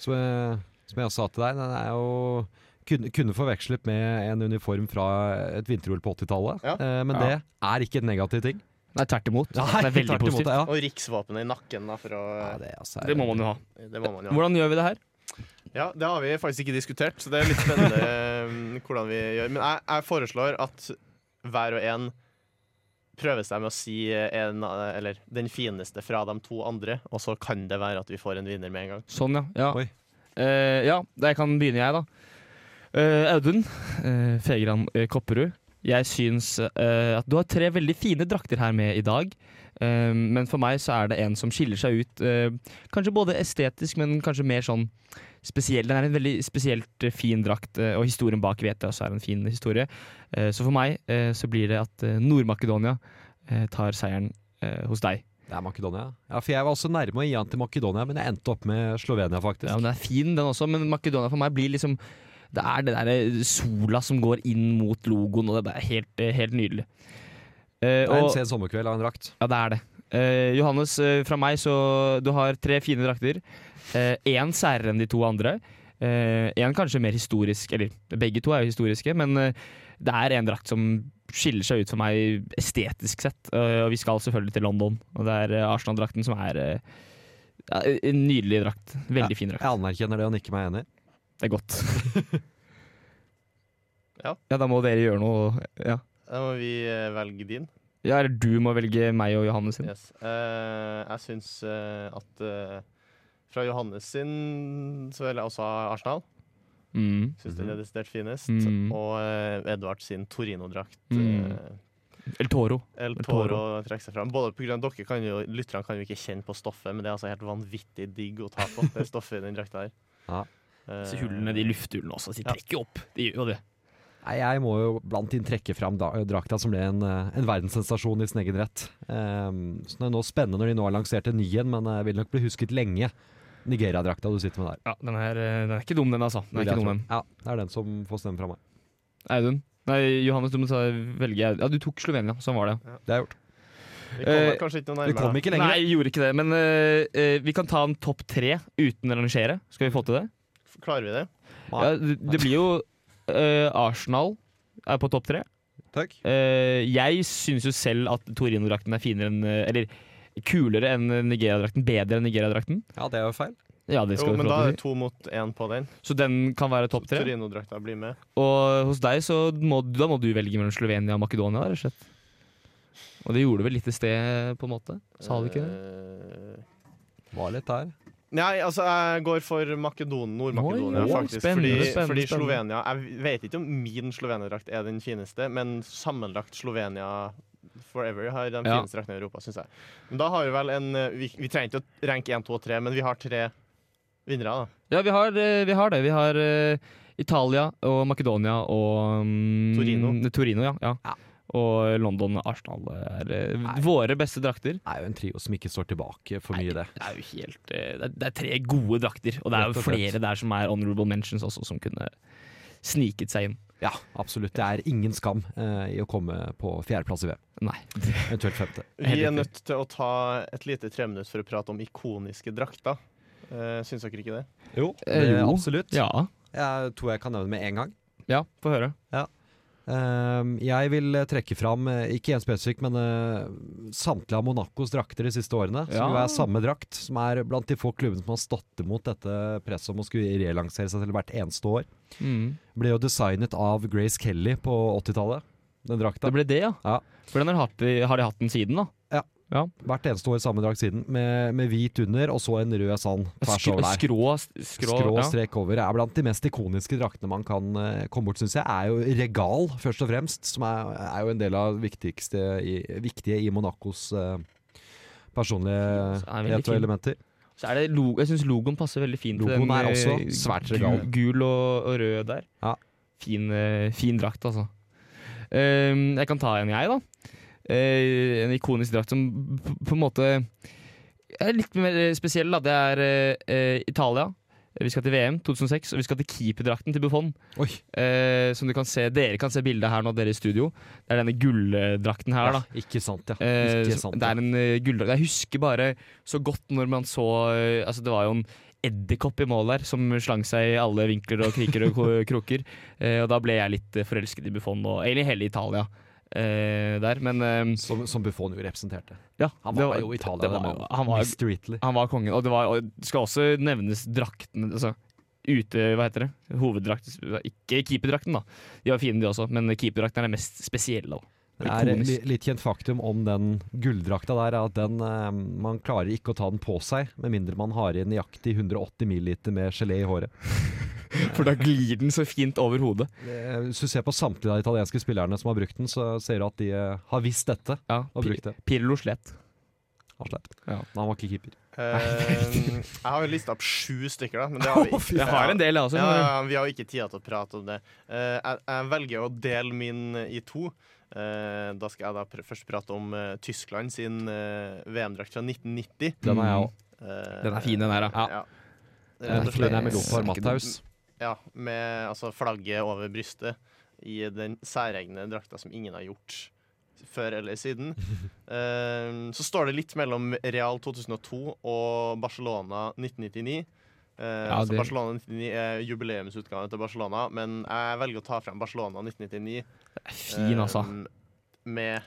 Som, jeg- som jeg også sa til deg, den er jo kunne, kunne forvekslet med en uniform fra et vinter-OL på 80-tallet. Eh, men Ja. det er ikke en negativ ting. Nei, tvert imot. Nei, det er veldig tvert imot, positivt. ja. Og riksvåpenet i nakken, da, for å eh, det, altså- Det må man jo ha. Det må man jo ha. Hvordan gjør vi det her? Ja, det har vi faktisk ikke diskutert, så det er litt spennende eh, hvordan vi gjør. Men jeg, jeg foreslår at hver og en prøver seg med å si en, eh, eller, den fineste fra de to andre, og så kan det være at vi får en vinner med en gang. Sånn, ja. Ja, Eh, ja jeg kan begynne, jeg, da. Eh, Audun eh, Fegran eh, Kopperud. Jeg syns eh, at du har tre veldig fine drakter her med i dag. Eh, men for meg så er det en som skiller seg ut, eh, kanskje både estetisk, men kanskje mer sånn spesiell. Den er en veldig spesielt eh, fin drakt, eh, og historien bak vet jeg også er en fin historie. Eh, så for meg eh, så blir det at eh, Nord-Makedonia eh, tar seieren eh, hos deg. Det er Makedonia. Ja, for jeg var også nærme å gi han til Makedonia, men jeg endte opp med Slovenia, faktisk. Ja, men Den er fin, den også, men Makedonia for meg blir liksom Det er det derre sola som går inn mot logoen, og det er bare helt, eh, helt nydelig. Eh, det er en og- sen sommerkveld av en drakt. Ja, det er det. Eh, Johannes, eh, fra meg så Du har tre fine drakter. Én særere enn de to andre. Én kanskje mer historisk, eller begge to er jo historiske, men eh, det er en drakt som skiller seg ut for meg estetisk sett. Eh, og vi skal selvfølgelig til London, og det er eh, Arsenal-drakten som er eh, ja, en nydelig drakt. Veldig fin drakt. Jeg anerkjenner det og nikker meg enig. Det er godt. Ja. da må dere gjøre noe. Ja. Da må vi eh, velge din. ja, eller du må velge meg og Johannes sin. Yes. Eh, jeg syns eh, at eh, fra Johannes sin så vil jeg også ha Arsenal. Mm. Syns den er desidert finest. Mm. Og eh, Edvard sin Torino-drakt. Mm. eh, El Toro. El Toro trekker seg fram. Både på grunn av dere kan jo, Lytterne kan jo ikke kjenne på stoffet, men det er altså helt vanvittig digg å ta på. Det stoffet i den drakta her. Ja. Eh, Så hullene, de lufthullene også, de trekker jo opp. De gjør jo det. Nei, jeg må jo blant inn trekke fram da, drakta som ble en, eh, en verdenssensasjon i sin egen rett. Ehm, så det er nå spennende når de nå har lansert en ny en, men jeg vil nok bli husket lenge. Nigeria-drakta du sitter med der. Ja, den er, eh, den er ikke dum, den, altså. Den er Vil jeg ikke dum, den. tro. Ja, det er den som får stemme fra meg. Audun? Nei, Johannes, du må ta, velge Audun. Ja, du tok Slovenia. Sånn var det. Det har jeg gjort. Vi Eh, kommer kanskje ikke noe nærmere. Nei, jeg gjorde ikke det. Men eh, eh, vi kan ta en topp tre uten å rangere. Skal vi få til det? Klarer vi det? Ja, det, det blir jo eh, Arsenal er på topp tre. Takk. Eh, jeg syns jo selv at Torino-drakten er finere enn eh, Eller kulere enn Nigeria-drakten. Bedre enn Nigeria-drakten. Ja, det er jo feil. Ja, det skal jo, du få men da er lov til å det to mot én på den. si. Så den kan være topp tre. Torino-drakta blir med. Og hos deg så må, da må du velge mellom Slovenia og Makedonia, rett og slett. Og det gjorde du vel litt i sted, på en måte? Sa du ikke Eh. det? Var litt der. Nei, altså jeg går for Makedon, Nord-Makedonia, Oi, faktisk. spennende, fordi, spennende, fordi spennende. Slovenia Jeg vet ikke om min Slovenia-drakt er den fineste, men sammenlagt Slovenia Forever har den Ja. fineste drakten i Europa, syns jeg. Men da har vi vel en eh, Vi, vi trenger ikke å ranke én, to og tre, men vi har tre vinnere, da. Ja, vi har, eh, vi har det. Vi har eh, Italia og Makedonia og mm, Torino. Torino ja, ja. Og London Arsenal er eh, våre beste drakter. Det er jo en trio som ikke står tilbake for mye, det. Det er jo helt eh, Det er, det er tre gode drakter, og det er Rett jo og slett. flere der som er honorable mentions også, som kunne sniket seg inn. Ja, absolutt. Det er ingen skam eh, i å komme på fjerdeplass i VM. Nei. Eventuelt femte. Vi er nødt til å ta et lite treminutt for å prate om ikoniske drakter. Uh, syns dere ikke det? Jo, Eh, det- jo. absolutt. Ja. Jeg tror jeg kan nevne med en gang. Ja, få høre. Ja. Ehm, jeg vil eh, trekke fram, eh, ikke en spesifikk, men eh, samtlige av Monacos drakter de siste årene. Som jo Ja. er samme drakt, som er blant de få klubbene som har stått imot dette presset om å skulle relansere seg til hvert eneste år. Mm. Ble jo designet av Grace Kelly på 80-tallet, den drakta. Det ble det, ja. For den har, hatt, har de hatt den siden, da? Ja. Hvert eneste år samme drakt siden, med, med hvit under og så en rød sand tvers Sk- over der. Skrå, skrå, Skrå ja. strek over er blant de mest ikoniske draktene man kan eh, komme bort, syns jeg. Er jo Regal, først og fremst, som er, er jo en del av viktigste i, viktige i Monacos eh, er veldig personlighet fin. og elementer. Så er det logo, jeg syns logoen passer veldig fint. til Logoen den, er eh, også svært gul, regal. gul og, og rød der. Fin, eh, fin drakt, altså. Ehm, jeg kan ta en, jeg, da. Eh, en ikonisk drakt som p- på en måte er litt mer eh, spesiell. Da. Det er eh, eh, Italia. Vi skal til VM 2006, og vi skal til keeperdrakten til Buffon. Eh, som du kan se, Dere kan se bildet her nå, dere i studio. Det er denne gulldrakten her. Ja, da Ikke sant, ja. Eh, Ikke så- sant, det ja. er en eh, gulldrakt. Jeg husker bare så godt når man så eh, Altså Det var jo en edderkopp i mål der som slang seg i alle vinkler og kriker og [laughs] ko- kroker. Eh, og da ble jeg litt eh, forelsket i Buffon og egentlig hele Italia eh, der, men som, Buffon jo representerte. Ja, Han det var jo Italia, det den var, mannen. han, var, Mr. Italy. han var kongen. Og det var, og det skal også nevnes drakten altså, Ute, hva heter det? Hoveddrakt Ikke keeperdrakten, da. De var fine, de også, men keeperdrakten er den mest spesielle. da. Det er Ikonisk. li, litt kjent faktum om den gulldrakta der, er at den, eh, man klarer ikke å ta den på seg, med mindre man har i nøyaktig 180 ml med gelé i håret. For da glir den så fint over hodet. Eh, Hvis du ser på samtlige av de italienske spillerne som har brukt den, så ser du at de eh, har visst dette og brukt det. Pirlo slet. Han slet. Ja. Men han var ikke keeper. Eh, jeg har jo lista opp sju stykker, da. [laughs] Men det har vi Å, ikke. fy faen. Jeg har en del, jeg også, Ja, skjønner du. ja, vi har jo ikke tid til å prate om det. Eh, jeg, jeg velger å dele min i to. Eh, da skal jeg da pr først prate om eh, Tyskland sin eh, VM-drakt fra 1990. Den har jeg også. Eh, Den er fin, den her, da. ja. Den Rett og er fin, slett- den er med Lothar Matthaus. Ja, med altså, flagget over brystet i den særegne drakta som ingen har gjort før eller [laughs] siden. Eh, så står det litt mellom Real 2002 og Barcelona 1999. Eh, Ja, altså det- Barcelona 1999 er jubileumsutgaven til Barcelona, men jeg velger å ta frem Barcelona 1999. fin, altså. eh, med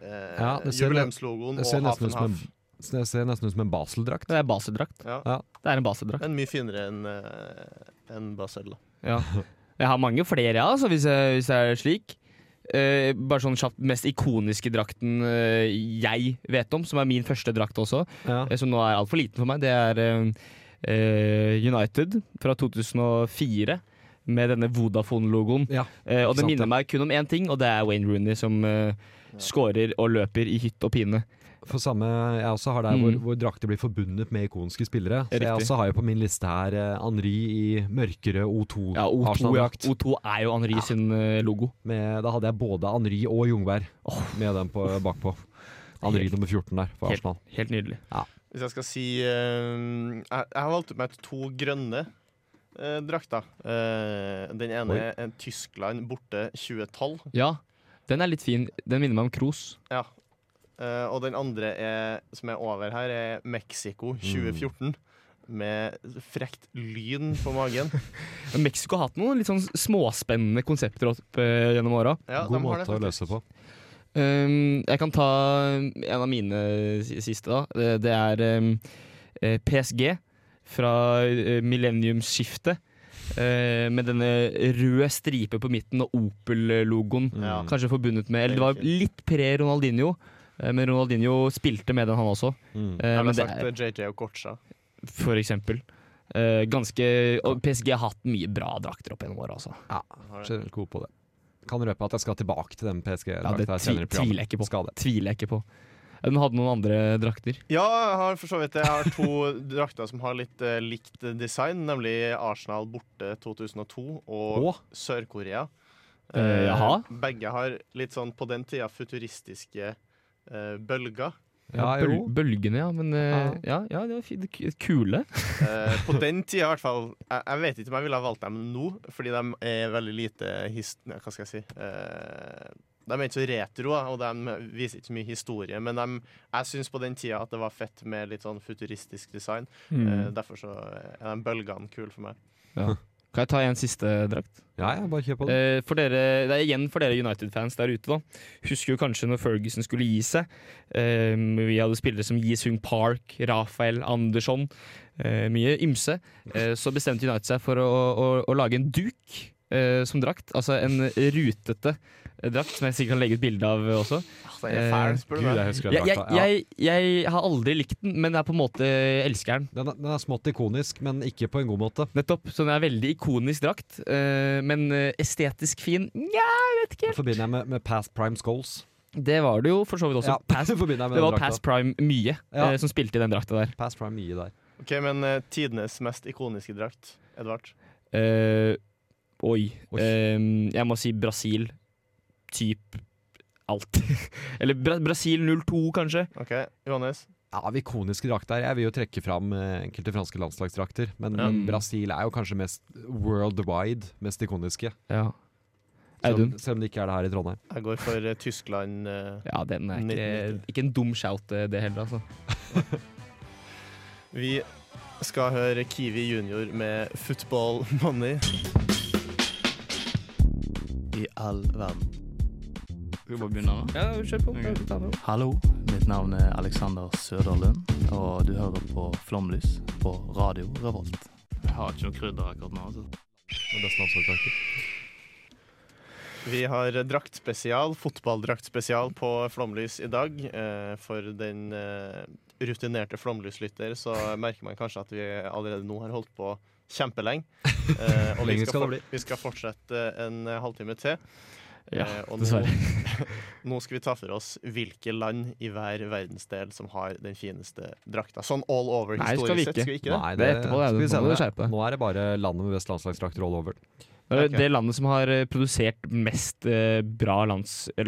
eh, Ja, det ser- jubileumslogoen det ser og nesten ut som en- Hafenhaff. Det ser nesten ut som en Basel-drakt. Det er Basel-drakt. Ja. Ja. [laughs] Det er en basedrakt. Men mye finere enn eh, enn Basel. da. Ja. Jeg har mange flere, ja, altså, hvis, jeg, hvis det er slik. Eh, bare sånn kjapt, mest ikoniske drakten eh, jeg vet om, som er min første drakt også, eh, som nå er altfor liten for meg, det er eh, eh, United fra 2004. Med denne Vodafone-logoen. Eh, og det sant minner det. meg kun om én ting, og det er Wayne Rooney som eh, scorer og løper i hytt og pine. For samme, jeg også har der Mm. hvor, hvor drakter blir forbundet med ikonske spillere. Så jeg Riktig. også har jo på min liste her eh, Henri i mørkere O2. Ja, O2, sånn- ja. Arsenal-drakt. O2 er jo Henri sin eh, logo. Med, da hadde jeg både Henri og Jungberg med den på, bakpå. Henri nummer 14 der for Helt, Arsenal. helt nydelig. Hvis jeg skal si eh, Jeg, jeg har valgt ut meg to grønne eh, drakter. Eh, den ene Oi. er en Tyskland borte 2012. Ja, den er litt fin. Den minner meg om Kroos. Ja. Eh, og den andre er, som er over her, er Mexico 2014. Med frekt lyn på magen. [laughs] Mexico har hatt noen litt sånn småspennende konsepter opp eh, gjennom åra. Ehm, Ja, God de har det, måte å faktisk. løse på. jeg kan ta eh, en av mine si- siste, da. Det, det er um, eh, PSG fra eh, millenniumsskiftet. eh, med denne røde stripe på midten og Opel-logoen. Mm. Ja. Kanskje forbundet med Eller Mm. det var litt pre-Ronaldinho, eh, men Ronaldinho spilte med den, han også. Mm. Eh, jeg men ville det sagt er- eh, JJ og Kocha. for eksempel. Eh, ganske, og PSG har hatt mye bra drakter opp gjennom åra, altså. Ja, generelt god på det. Kan røpe at jeg skal tilbake til den Ja, PSG-drakta det tvi, tviler jeg ikke på. Tviler jeg ikke på. Ja, Den hadde noen andre drakter. Ja, jeg har for så vidt det. Jeg har to [laughs] drakter som har litt eh, likt design, nemlig Arsenal borte 2002 og Å? Sør-Korea. Eh, jaha. Begge har litt sånn på den tida futuristiske eh, bølger. Ja, bøl bølgene, ja. Men eh, ja, ja, det var fint. K- Kule. Eh, på den tida i hvert fall. Jeg, jeg vet ikke om jeg ville ha valgt dem nå, fordi de er veldig lite his... Nei, Hva skal jeg si? Eh, de er ikke så retro, da, og de viser ikke så mye historie, men de, jeg syns på den tida at det var fett med litt sånn futuristisk design. Mm. Eh, derfor så er de bølgene kule for meg. Ja. Kan jeg ta en siste drakt? Ja, ja, bare kjør på Eh, for dere, det er igjen for dere United-fans der ute. da Husker jo kanskje når Ferguson skulle gi seg. Eh, vi hadde spillere som Jisung Park, Rafael Andersson. Eh, mye ymse. Eh, så bestemte United seg for å, å, å lage en duk eh, som drakt. Altså en rutete drakt, som jeg sikkert kan legge ut bilde av også. den er fæl, spør du meg. Eh, Gud, jeg husker den jeg, jeg, drakta, ja. jeg, jeg har aldri likt den, men jeg er på en måte elsker den. Den er, den er smått ikonisk, men ikke på en god måte. Nettopp. Så den er veldig ikonisk drakt, eh, men eh, estetisk fin. Nja, jeg vet ikke helt. Forbinder jeg med, med past prime goals. Det var det jo for så vidt også. Ja, [laughs] Past- forbinder jeg med det den var drakta. Pass Prime mye Ja. eh, som spilte i den drakta der. Past prime mye der. OK, men eh, tidenes mest ikoniske drakt, Edvard? Eh, oi. Eh, jeg må si Brasil. Typ alt. [laughs] Eller Bra Brasil 02, kanskje. OK, Johannes? Ja, av ikoniske drakter. Jeg vil jo trekke fram eh, enkelte franske landslagsdrakter, men Ja. men Brasil er jo kanskje mest worldwide, mest ikoniske. Ja. Selv, om- Audun? selv om det ikke er det her i Trondheim. Jeg går for eh, Tyskland. eh, Ja, den er ikke, 1990. ikke en dum shout, eh, det heller, altså. Vi skal høre Kiwi Junior med Football Money. I all verden. Skal vi bare begynne? Ja, kjør på. Ta det. Hallo, mitt navn er Alexander Søderlund, og du hører på Flomlys på Radio Revolt. Jeg har ikke noe krydder akkurat nå. altså. Vi har draktspesial, fotballdraktspesial på Flomlys i dag. Eh, For den eh, rutinerte Flomlyslytter så merker man kanskje at vi allerede nå har holdt på kjempelenge. Eh, Og vi skal, Lenge skal det for, bli. vi skal fortsette en eh, halvtime til. Ja, Eh, og dessverre. Nå, [laughs] nå skal vi ta for oss hvilke land i hver verdensdel som har den fineste drakta. Sånn all over Nei, skal vi historisk sett. ikke. Skal vi ikke Nei, Det er etterpå, det skal er- vi nå må se du det. Nå er det bare landet med best landslagsdrakter all over. Det er Ok. det landet som har eh, produsert mest eh, bra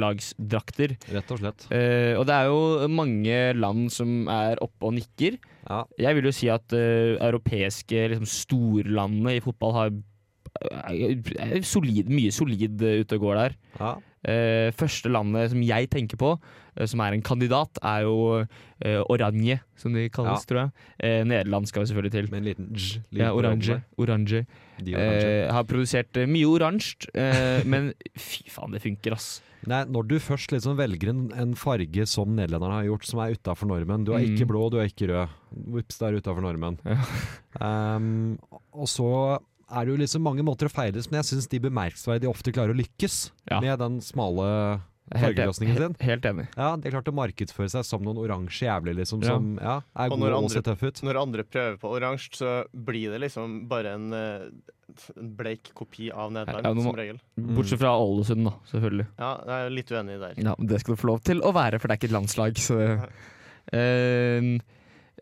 landslagsdrakter. Rett og slett. Eh, og det er jo mange land som er oppe og nikker. Jeg vil jo si at eh, europeiske liksom, storlandene i fotball har er- er solid, mye solid eh, ute og går der. Eh, første landet som jeg tenker på, eh, som er en kandidat, er jo eh, Oranje, som de kalles, Ja. tror jeg. Eh, Nederland skal vi selvfølgelig til. Med en liten dj Ja, oransje. oransje. De oransje. Eh, har produsert eh, mye oransje, eh, men [laughs] fy faen, det funker, ass. Nei, Når du først liksom velger en, en farge som nederlenderne har gjort, som er utafor normen Du er ikke [laughs] Mm. blå, du er ikke rød. Vips, det er utafor normen. um, Ehm, og så er det jo liksom mange måter å feires, men jeg syns de bemerkelsesverdig ofte klarer å lykkes med den smale Helt enig. fargeløsningen sin. Helt enig. Ja, De har klart å markedsføre seg som noen oransje jævler, liksom, Ja. som ja, er Og gode når og andre- ser tøffe ut. Når andre prøver på oransje, så blir det liksom bare en, eh, en bleik kopi av Nederland, Ja, nå må- som regel. Mm. Bortsett fra Ålesund, da, selvfølgelig. Ja, jeg er litt uenig der. Ja, men Det skal du få lov til å være, for det er ikke et landslag. Så. Eh,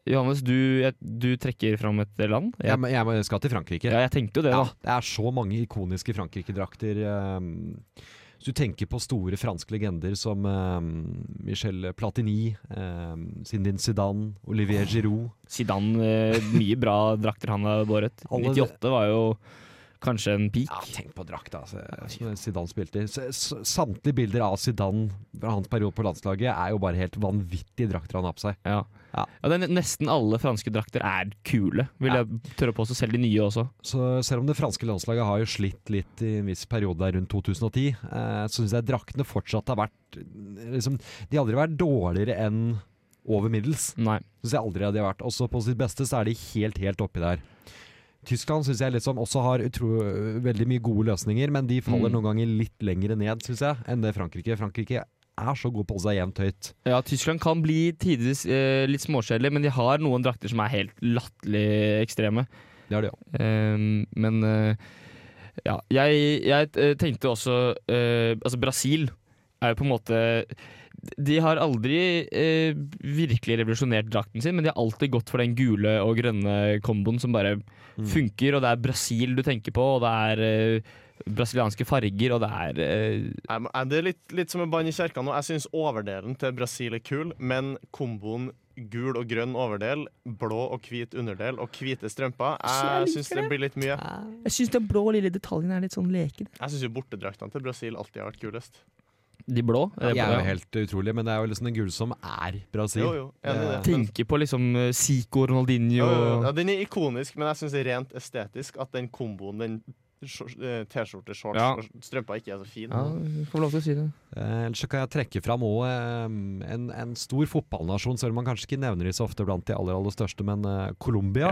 Johannes, du, jeg- du trekker fram et land. Jeg, må- jeg, må- jeg skal til Frankrike. Ja, jeg tenkte jo det, da. det er så mange ikoniske Frankrike-drakter. ehm, Hvis du tenker på store franske legender som ehm, Michel Platini, um, Zindin Zidane, Olivier Giroud Zidane, eh, mye bra drakter han har båret. [laughs] Alle- 98 var jo kanskje en peak. tenk på altså. drakta, som Zidane spilte i. S- s- Samtlige bilder av Zidane fra hans periode på landslaget er jo bare helt vanvittige drakter han har på seg. Ja. Ja. det er ne- Nesten alle franske drakter er kule, vil jeg tørre å påstå. Selv de nye også. Så selv om det franske landslaget har jo slitt litt i en viss periode der rundt 2010, eh, så syns jeg draktene fortsatt har vært eh, liksom, De har aldri vært dårligere enn over middels. Synes jeg aldri de har vært. Også på sitt beste så er de helt, helt oppi der. Tyskland synes jeg liksom også har utro, veldig mye gode løsninger, men de faller Mm. noen ganger litt lengre ned, syns jeg, enn det Frankrike. Frankrike er så god på å holde seg jevnt høyt. Ja, Tyskland kan bli tidvis eh, litt småkjedelig, men de har noen drakter som er helt latterlig ekstreme. Det har de men eh, ja, jeg, jeg eh, tenkte også eh, Altså, Brasil er jo på en måte De har aldri eh, virkelig revolusjonert drakten sin, men de har alltid gått for den gule og grønne komboen som bare funker, og det er Brasil du tenker på, og det er eh, brasilianske farger, og det er eh, Nei, men Er det litt, litt som en bann i kjerka nå? Jeg syns overdelen til Brasil er kul, men komboen gul og grønn overdel, blå og hvit underdel og hvite strømper, Jeg jeg liker syns det det. blir litt mye. Jeg syns den blå lille detaljen er litt sånn leken. Jeg syns jo bortedraktene til Brasil alltid har vært kulest. De blå? De er Ja. jo helt utrolige, men det er jo liksom den gule som er Brasil. Jo, jo, enig i det. Tenker på liksom eh, Zico, Ronaldinho Ja, den er ikonisk, men jeg syns rent estetisk at den komboen, den skjor- eh, T-skjorte, shorts Ja. og strømper, ikke er så fin. får lov til å si det. Eh, Ellers så kan jeg trekke fram også, eh, en, en stor fotballnasjon, selv om man kanskje ikke nevner de så ofte blant de aller, aller største, men eh, Colombia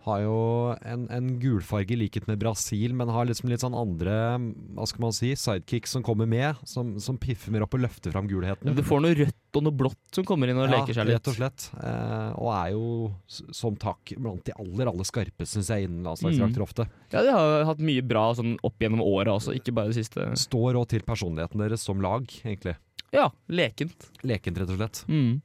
har jo en, en gulfarge i likhet med Brasil, men har liksom litt sånn andre hva skal man si, sidekicks som kommer med, som, som piffer mer opp og løfter fram gulheten. Du får noe rødt og noe blått som kommer inn og leker seg litt. rett og slett. Eh, og er jo s- som takk blant de aller, aller skarpe, syns jeg, innen landslagsdrakter Mm. ofte. Ja, De har hatt mye bra sånn opp gjennom året også, ikke bare det siste. Står òg til personligheten deres som lag, egentlig. Ja, lekent. Lekent, rett og slett. Mm.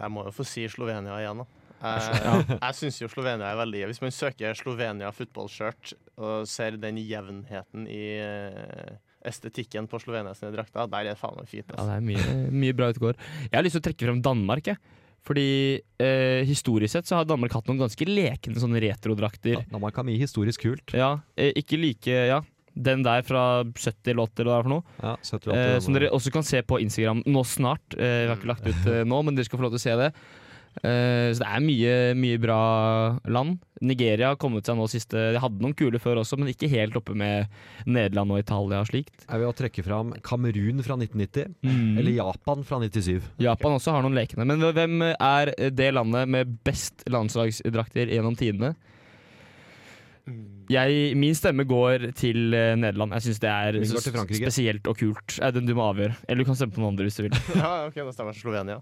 Jeg må jo få si Slovenia igjen, da. Ja. Jeg, jeg syns jo Slovenia er veldig Hvis man søker Slovenia fotballskjørt og ser den jevnheten i eh, estetikken på Slovenia sine drakter, der er det faen meg fint. Ja, Altså. det er mye, mye bra ute og går. Jeg har lyst til å trekke frem Danmark, jeg. Fordi eh, historisk sett så har Danmark hatt noen ganske lekende sånne retrodrakter. Danmark har mye historisk kult. Ja, eh, ikke like Ja. Den der fra 70 eller 80 eller hva det er for noe. Ja, 70 eh, eller som dere også kan se på Instagram nå snart. Eh, vi har ikke lagt ut eh, nå, men dere skal få lov til å se det. Eh, så det er mye, mye bra land. Nigeria har kommet seg nå siste De hadde noen kule før også, men ikke helt oppe med Nederland og Italia og slikt. Jeg vil også trekke fram Kamerun fra 1990, Mm. eller Japan fra 97. Japan også har noen lekende. Men hvem er det landet med best landslagsdrakter gjennom tidene? Jeg, min stemme går til eh, Nederland. Jeg syns det er Min går s- til Frankrike. spesielt og kult. Audun, du må avgjøre. Eller du kan stemme på noen andre hvis du vil. Ja, ok, Da stemmer jeg Slovenia.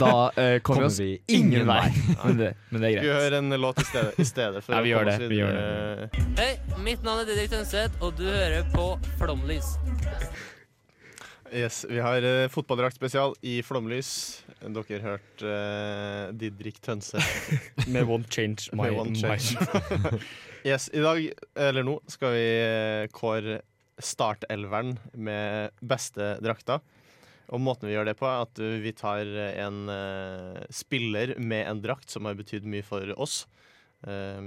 Da eh, kommer Kommer vi oss vi ingen ingen vei. vei. Men det, men det er Skal vi greit. høre en låt i stedet, i stedet for Ja, vi å gjør komme oss det, vi videre? Hei, mitt navn er Didrik Tønseth, og du hører på Flomlys. Yes, Vi har eh, fotballdraktspesial i Flomlys. Dere hørte eh, Didrik Tønse. Med Won't Change My Med Won't Change. [laughs] Mind. yes, I dag, eller nå, skal vi eh, kåre startelveren med beste drakta. Og måten vi gjør det på, er at eh, vi tar en eh, spiller med en drakt som har betydd mye for oss eh,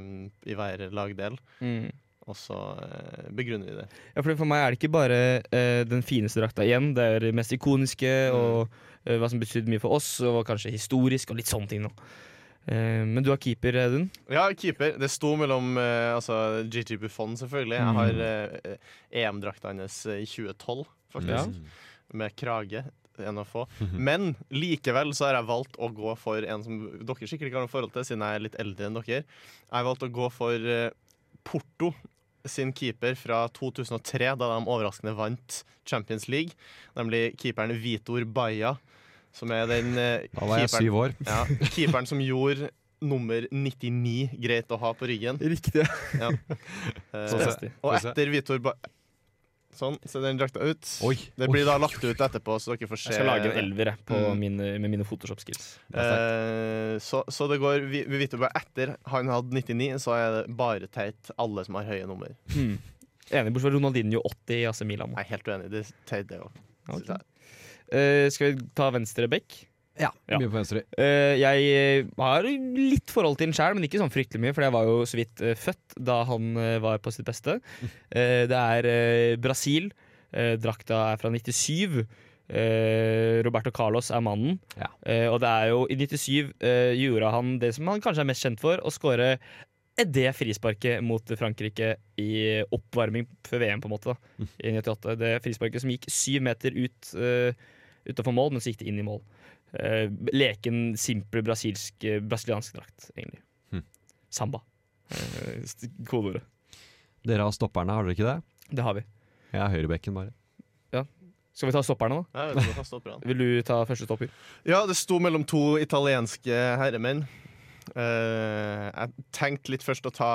i hver lagdel. Mm. Og så eh, begrunner vi det. Ja, for, for meg er det ikke bare eh, den fineste drakta igjen. Det er det mest ikoniske, og eh, hva som betydde mye for oss, og kanskje historisk, og litt sånne ting. nå. Eh, men du har keeper, Audun. Ja, keeper. Det sto mellom eh, altså, Gigi Buffon, selvfølgelig. Jeg har eh, EM-drakta hennes eh, i 2012, Mm. Ja. faktisk. Med krage. En av få. Mhm. Men likevel så har jeg valgt å gå for en som dere sikkert ikke har noe forhold til, siden jeg er litt eldre enn dere. Jeg har valgt å gå for eh, Porto sin keeper fra 2003, da de overraskende vant Champions League. Nemlig keeperen Vitor Baia, som er den eh, Da var jeg keeperen- syv år. Ja, keeperen som gjorde nummer 99 greit å ha på ryggen. Riktig. Ja. Eh, Få se. og Få se. etter Vitor Baia Sånn, se den drakta ut. Oi. Det blir da lagt ut etterpå, så dere får se. Jeg skal lage en det. elver jeg, på Mm. mine, med mine Photoshop-skills. Eh, så, så det går vi, vi vet jo bare etter han hadde 99, så er det bare teit alle som har høye nummer. Hmm. Enig, bortsett fra Ronaldinho 80 i AC Milan. Jeg er helt uenig. Det er teit, det òg. Ok. Eh, skal vi ta venstre bekk? Ja, mye på venstre. Eh, jeg eh, har litt forhold til den sjæl, men ikke sånn fryktelig mye, for jeg var jo så vidt eh, født da han eh, var på sitt beste. Eh, det er eh, Brasil. Eh, drakta er fra 97. Eh, Roberto Carlos er mannen. Eh, og det er jo i 97 eh, gjorde han det som han kanskje er mest kjent for, å skåre det frisparket mot Frankrike i oppvarming før VM, på en måte. Da, I 98. Det frisparket som gikk syv meter ut eh, utenfor mål, men så gikk det inn i mål. Eh, leken, simpel brasilsk, eh, brasiliansk drakt, egentlig. Hm. Samba. Eh, st- Kodeordet. Dere har stopperne, har dere ikke det? Det har vi. Jeg har høyrebekken, bare. Ja. Skal vi ta stopperne, da? Ja, vi må ta stopperne. Vil du ta første stopper? Ja, det sto mellom to italienske herremenn. Eh, jeg tenkte litt først å ta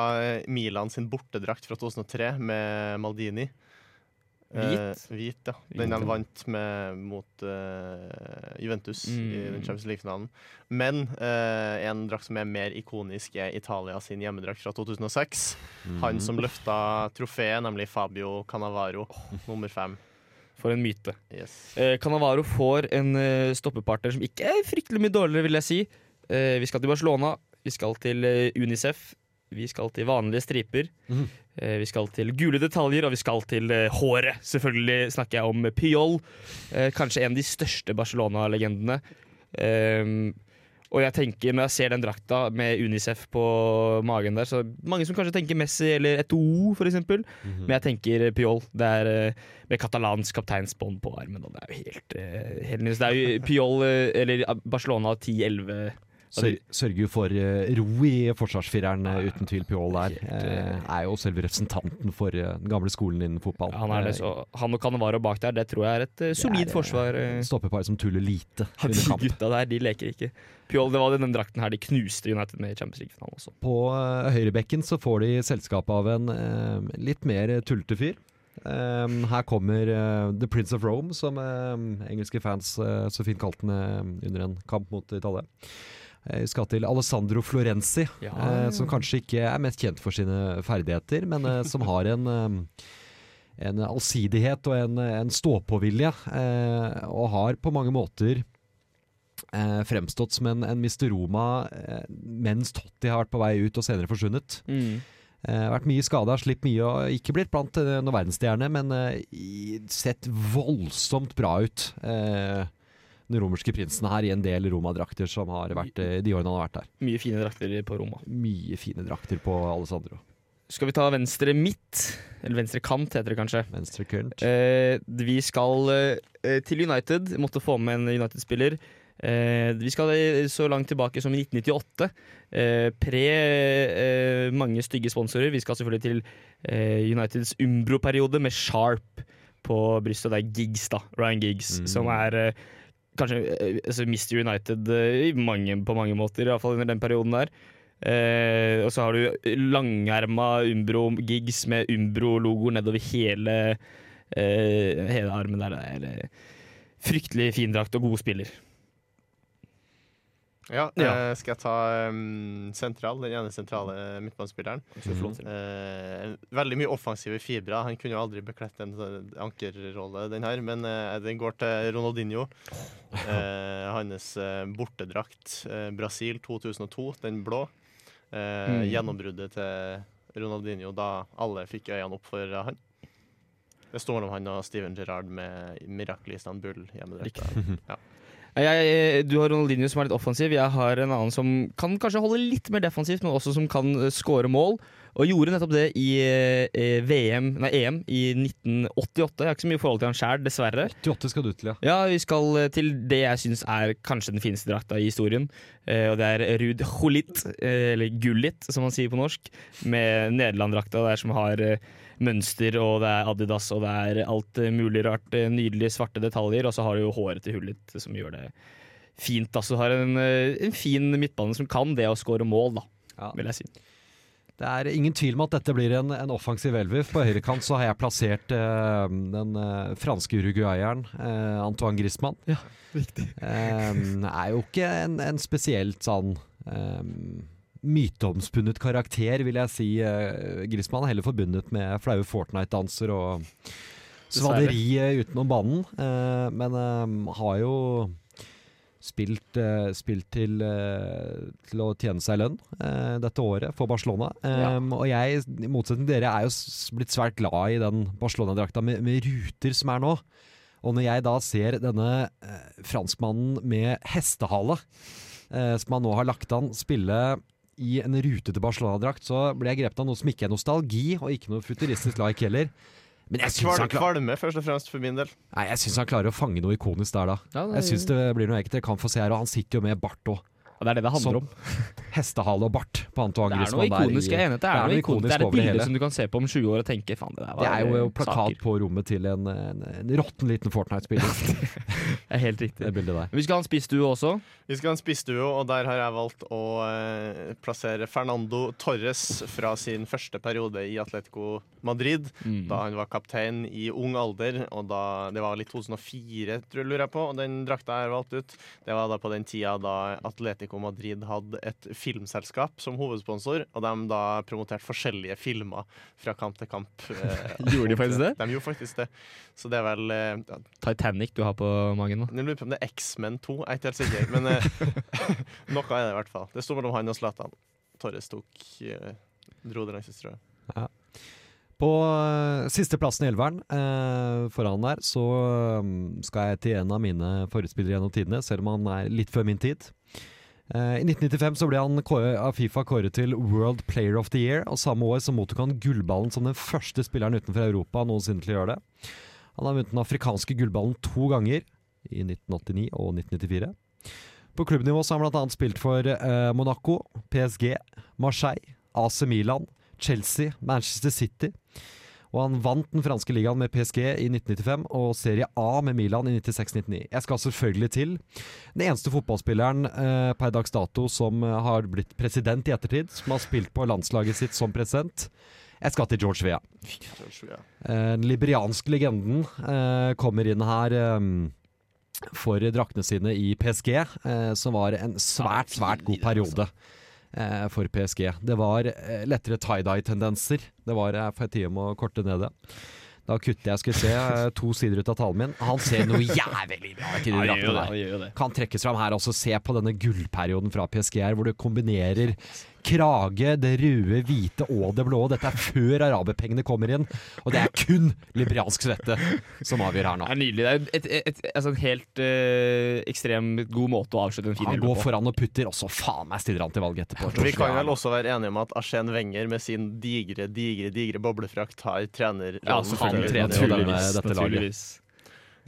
Milan sin bortedrakt fra 2003 med Maldini. Eh, Hvit? hvit, ja. Den Hvit, de ja. vant med mot eh, Juventus i Mm. den Champions League-finalen. Men eh, en drakt som er mer ikonisk, er Italia sin hjemmedrakt fra 2006. Han Mhm. som løfta trofeet, nemlig Fabio Canavaro, nummer fem. For en myte. Yes. Eh, Cannavaro får en eh, stoppepartner som ikke er fryktelig mye dårligere, vil jeg si. Eh, vi skal til Barcelona, vi skal til eh, Unicef, vi skal til vanlige striper. Mhm. eh, vi skal til gule detaljer, og vi skal til eh, håret. Selvfølgelig snakker jeg om Piol. eh, kanskje en av de største Barcelona-legendene. Eh, og jeg tenker, når jeg ser den drakta med Unicef på magen der, så er det mange som kanskje tenker Messi eller Eto'o, for eksempel. Men jeg tenker Piol. Det er eh, med katalansk kapteinsbånd på armen, og det er jo helt, eh, helt nydelig. Så Det er jo Piol, eh, eller Barcelona 10-11 Sør sørger jo for eh, ro i forsvarsfireren, eh, uten tvil. Pjol der eh, er jo selve representanten for eh, den gamle skolen innen fotball. han, er det, Eh, så, han og Cannavaro bak der, det tror jeg er et eh, er, solid eh, forsvar. eh. Stoppepar som tuller lite [laughs] under De kamp. gutta der, de leker ikke. Piol, det var den drakten her de knuste United med i Champions League-finalen også. På eh, høyrebekken så får de selskap av en eh, litt mer tullete fyr. Eh, her kommer eh, The Prince of Rome, som eh, engelske fans eh, så fint kalte den eh, under en kamp mot Italia. Eh, Vi skal til Alessandro Florenzi, Ja. eh, som kanskje ikke er mest kjent for sine ferdigheter, men eh, som har en eh, en allsidighet og en, en ståpåvilje, eh, og har på mange måter eh, fremstått som en, en Mr. Roma eh, mens Totti har vært på vei ut og senere forsvunnet. Mm. Eh, vært mye skada, slitt mye og ikke blitt blant eh, noen verdensstjerne, men eh, i- sett voldsomt bra ut. Eh, den romerske prinsen her i en del romadrakter som har vært eh, de årene han har vært der. Mye fine drakter på Roma. Mye fine drakter på Alessandro. Skal vi ta venstre midt? Eller venstre kant, heter det kanskje. Venstre kant. Eh, vi skal eh, til United. Måtte få med en United-spiller. Eh, vi skal eh, så langt tilbake som i 1998. Eh, pre eh, mange stygge sponsorer. Vi skal selvfølgelig til eh, Uniteds Umbro-periode med Sharp på brystet. Det er Giggs, da. Ryan Giggs, Mm. som er eh, kanskje eh, altså Mr. United eh, i mange, på mange måter, iallfall under den perioden der. Eh, og så har du langerma Umbro-gigs med Umbro-logoer nedover hele, eh, hele armen der. Det er eh, fryktelig fin drakt og god spiller. Ja, Ja. eh, skal jeg ta um, sentral, den ene sentrale midtbanespilleren. Så flott. Eh, veldig mye offensive fibre. Han kunne jo aldri bekledd en sånn ankerrolle, den her, men eh, den går til Ronaldinho. [laughs] Eh, hans eh, bortedrakt, eh, Brasil 2002, den blå. Eh, Mm. Gjennombruddet til Ronaldinho da alle fikk øynene opp for eh, han. Det står mellom han og Steven Gerrard med Miracle Istanbul hjemme der. Riktig. Ja. Jeg, eh, du har Ronaldinho som er litt offensiv. Jeg har en annen som kan kanskje holde litt mer defensivt, men også som kan eh, score mål. Og gjorde nettopp det i eh, VM, nei, EM i 1988. Jeg har ikke så mye forhold til han sjæl, dessverre. 88 Mm. skal du til, ja. Ja, vi skal eh, til det jeg syns er kanskje den fineste drakta i historien. Eh, og det er Ruud Gullit, eh, eller Gullit som man sier på norsk, med Nederland-drakta der som har eh, mønster, og det er Adidas, og det er alt eh, mulig rart. eh, nydelige svarte detaljer, og så har du jo håret til Hullit som gjør det fint. Da. Så du har en, eh, en fin midtbane som kan det å score mål, da, vil jeg si. Det er ingen tvil om at dette blir en, en offensiv elver. På høyrekant så har jeg plassert eh, den eh, franske uruguayeren eh, Antoine Griezmann. Ja, riktig. Ehm, er jo ikke en, en spesielt sånn eh, myteomspunnet karakter, vil jeg si. eh, Griezmann er heller forbundet med flaue Fortnite-danser og svaderiet utenom banen. eh, men eh, har jo Spilt, eh, spilt til, eh, til å tjene seg lønn eh, dette året for Barcelona. Ehm, Og jeg, i motsetning til dere, er jo s- blitt svært glad i den Barcelona-drakta med, med ruter som er nå. Og når jeg da ser denne eh, franskmannen med hestehale, eh, som han nå har lagt an, spille i en rutete Barcelona-drakt, så blir jeg grepet av noe som ikke er nostalgi, og ikke noe futuristisk like heller. Men jeg syns han, Kval- klar, Kvalme, først og fremst, for min del. Nei, jeg synes han klarer å fange noe ikonisk der, da. Ja, det- Jeg synes det blir noe eget. Jeg kan få se her, og han sitter jo med bart òg. Det er det det handler om. [laughs] Hestehale og bart på Antoine Det er Griezmann. noe ikonisk, jeg er enig i at det er noe ikonisk. Det er et over bilde hele. som du kan se på om 20 år og tenke faen, det der var Det er jo eh, plakat på rommet til en, en, en råtten liten Fortnite-spiller. Det er helt riktig. Det bildet der. Vi skal ha en spissdue også. Vi skal ha en spissduo, og der har jeg valgt å eh, plassere Fernando Torres fra sin første periode i Atletico Madrid, Mm. da han var kaptein i ung alder. og da, Det var vel i 2004, tror jeg, lurer jeg på, og den drakta jeg har valgt ut. Det var da på den tida da Atletico Madrid hadde et filmselskap som hovedsponsor, og de da promoterte forskjellige filmer fra kamp til kamp. eh, [laughs] Gjorde de faktisk det? De gjorde faktisk det. Så det er vel eh, ja, Titanic du har på magen nå. jeg lurer på om det er X-Men 2, jeg er ikke helt sikker. Men eh, [laughs] noe er det i hvert fall. Det sto mellom han og Zlatan. Torres tok eh, dro det langsist, tror jeg. Ja. På eh, sisteplassen i elveren eh, foran der, så mm, skal jeg til en av mine forespillere gjennom tidene, selv om han er litt før min tid. Eh, I 1995 så ble han kå- av Fifa kåret til World Player of the Year, og samme år så mottok han gullballen som den første spilleren utenfor Europa noensinne til å gjøre det. Han har vunnet den afrikanske gullballen to ganger, i 1989 og 1994. På klubbnivå så har han bl.a. spilt for eh, Monaco, PSG, Marseille, AC Milan, Chelsea, Manchester City. Og han vant den franske ligaen med PSG i 1995 og Serie A med Milan i 96-99. Jeg skal selvfølgelig til den eneste fotballspilleren eh, per dags dato som eh, har blitt president i ettertid, som har spilt på landslaget sitt som president. Jeg skal til George Vea. Eh, Den liberianske legenden eh, kommer inn her eh, for draktene sine i PSG, eh, som var en svært, svært god periode eh, for PSG. Det var eh, lettere tie-dye-tendenser. Det var eh, for en tid om å korte ned det. Da kutter jeg, skal vi se, eh, to sider ut av talen min. Han ser noe jævlig bra ut i de draktene Ja, han gjør det, der. han gjør det. Kan trekkes fram her også. Se på denne gullperioden fra PSG her, hvor du kombinerer krage, det røde, hvite og det blå. Dette er før araberpengene kommer inn, og det er kun liberiansk svette som avgjør her nå. Det er nydelig. Det er et, et, et, altså en helt eh, ekstrem god måte å avslutte en fin Han runde går på. foran og putter, og så faen meg stiller han til valget etterpå. Vi kan vel også være enige om at Arsène Wenger med sin digre, digre digre boblefrakt har trener Ja, så han trener jo denne- Naturligvis, dette laget. naturligvis.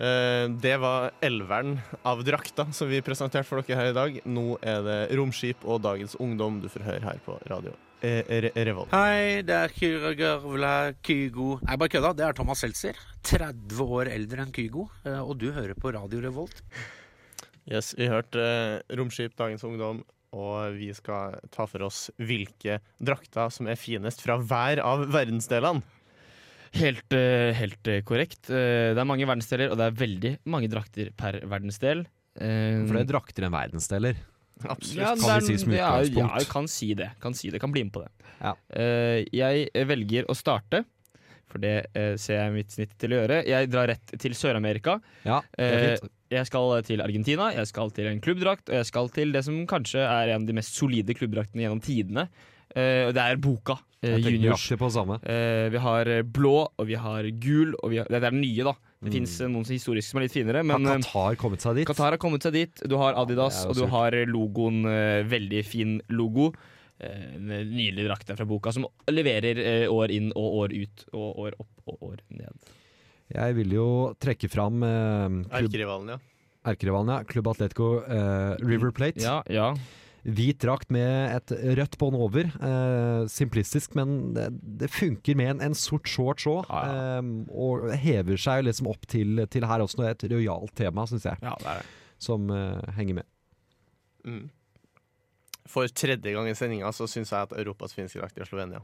Eh, Det var elveren av drakta som vi presenterte for dere her i dag. Nå er det Romskip og Dagens Ungdom du får høre her på radio eh, Re Revolt. Hei, det er Kyra Gørvla Kygo. Nei, bare kødda. Det er Thomas Seltzer. 30 år eldre enn Kygo. eh, Og du hører på Radio Revolt. Yes, vi hørte eh, Romskip, Dagens Ungdom, og vi skal ta for oss hvilke drakter som er finest fra hver av verdensdelene. Helt, eh, helt eh, korrekt. Eh, det er mange verdensdeler, og det er veldig mange drakter per verdensdel. Eh, For det er drakter enn verdensdeler. Ja, Kan vi det er- si som ja, utgangspunkt. Ja, jeg kan si det. Kan si det, kan bli med på det. Eh, jeg velger å starte, for det eh, ser jeg mitt snitt til å gjøre. Jeg drar rett til Sør-Amerika. Ja, det er Eh, fint. jeg skal til Argentina, jeg skal til en klubbdrakt, og jeg skal til det som kanskje er en av de mest solide klubbdraktene gjennom tidene. Eh, og det er boka. eh, Jeg tenker juniors. nøyaktig på samme. Eh, vi har eh, blå, og vi har gul. Og vi har, det er den nye, da. Det fins noen historiske som er litt finere. Men Har eh, Mm. Qatar kommet seg dit? Qatar har kommet seg dit. Du har Adidas, det er jo og du surt. har logoen. eh, veldig fin logo. Eh, en nydelig drakt der fra boka, som leverer eh, år inn og år ut. Og år opp og år ned. Jeg vil jo trekke fram eh, klubb- Erkerivalen, ja. Erkerivalen, ja. Klubb Atletico eh, River Plate. Ja, ja. Hvit drakt med et rødt bånd over. Eh, simplistisk, men det, det funker med en, en sort shorts òg. Eh, og hever seg jo liksom opp til, til her også. Det er et rojalt tema, syns jeg, som eh, henger med. Mm. For tredje gang i sendinga så syns jeg at Europas finske drakt er Slovenia.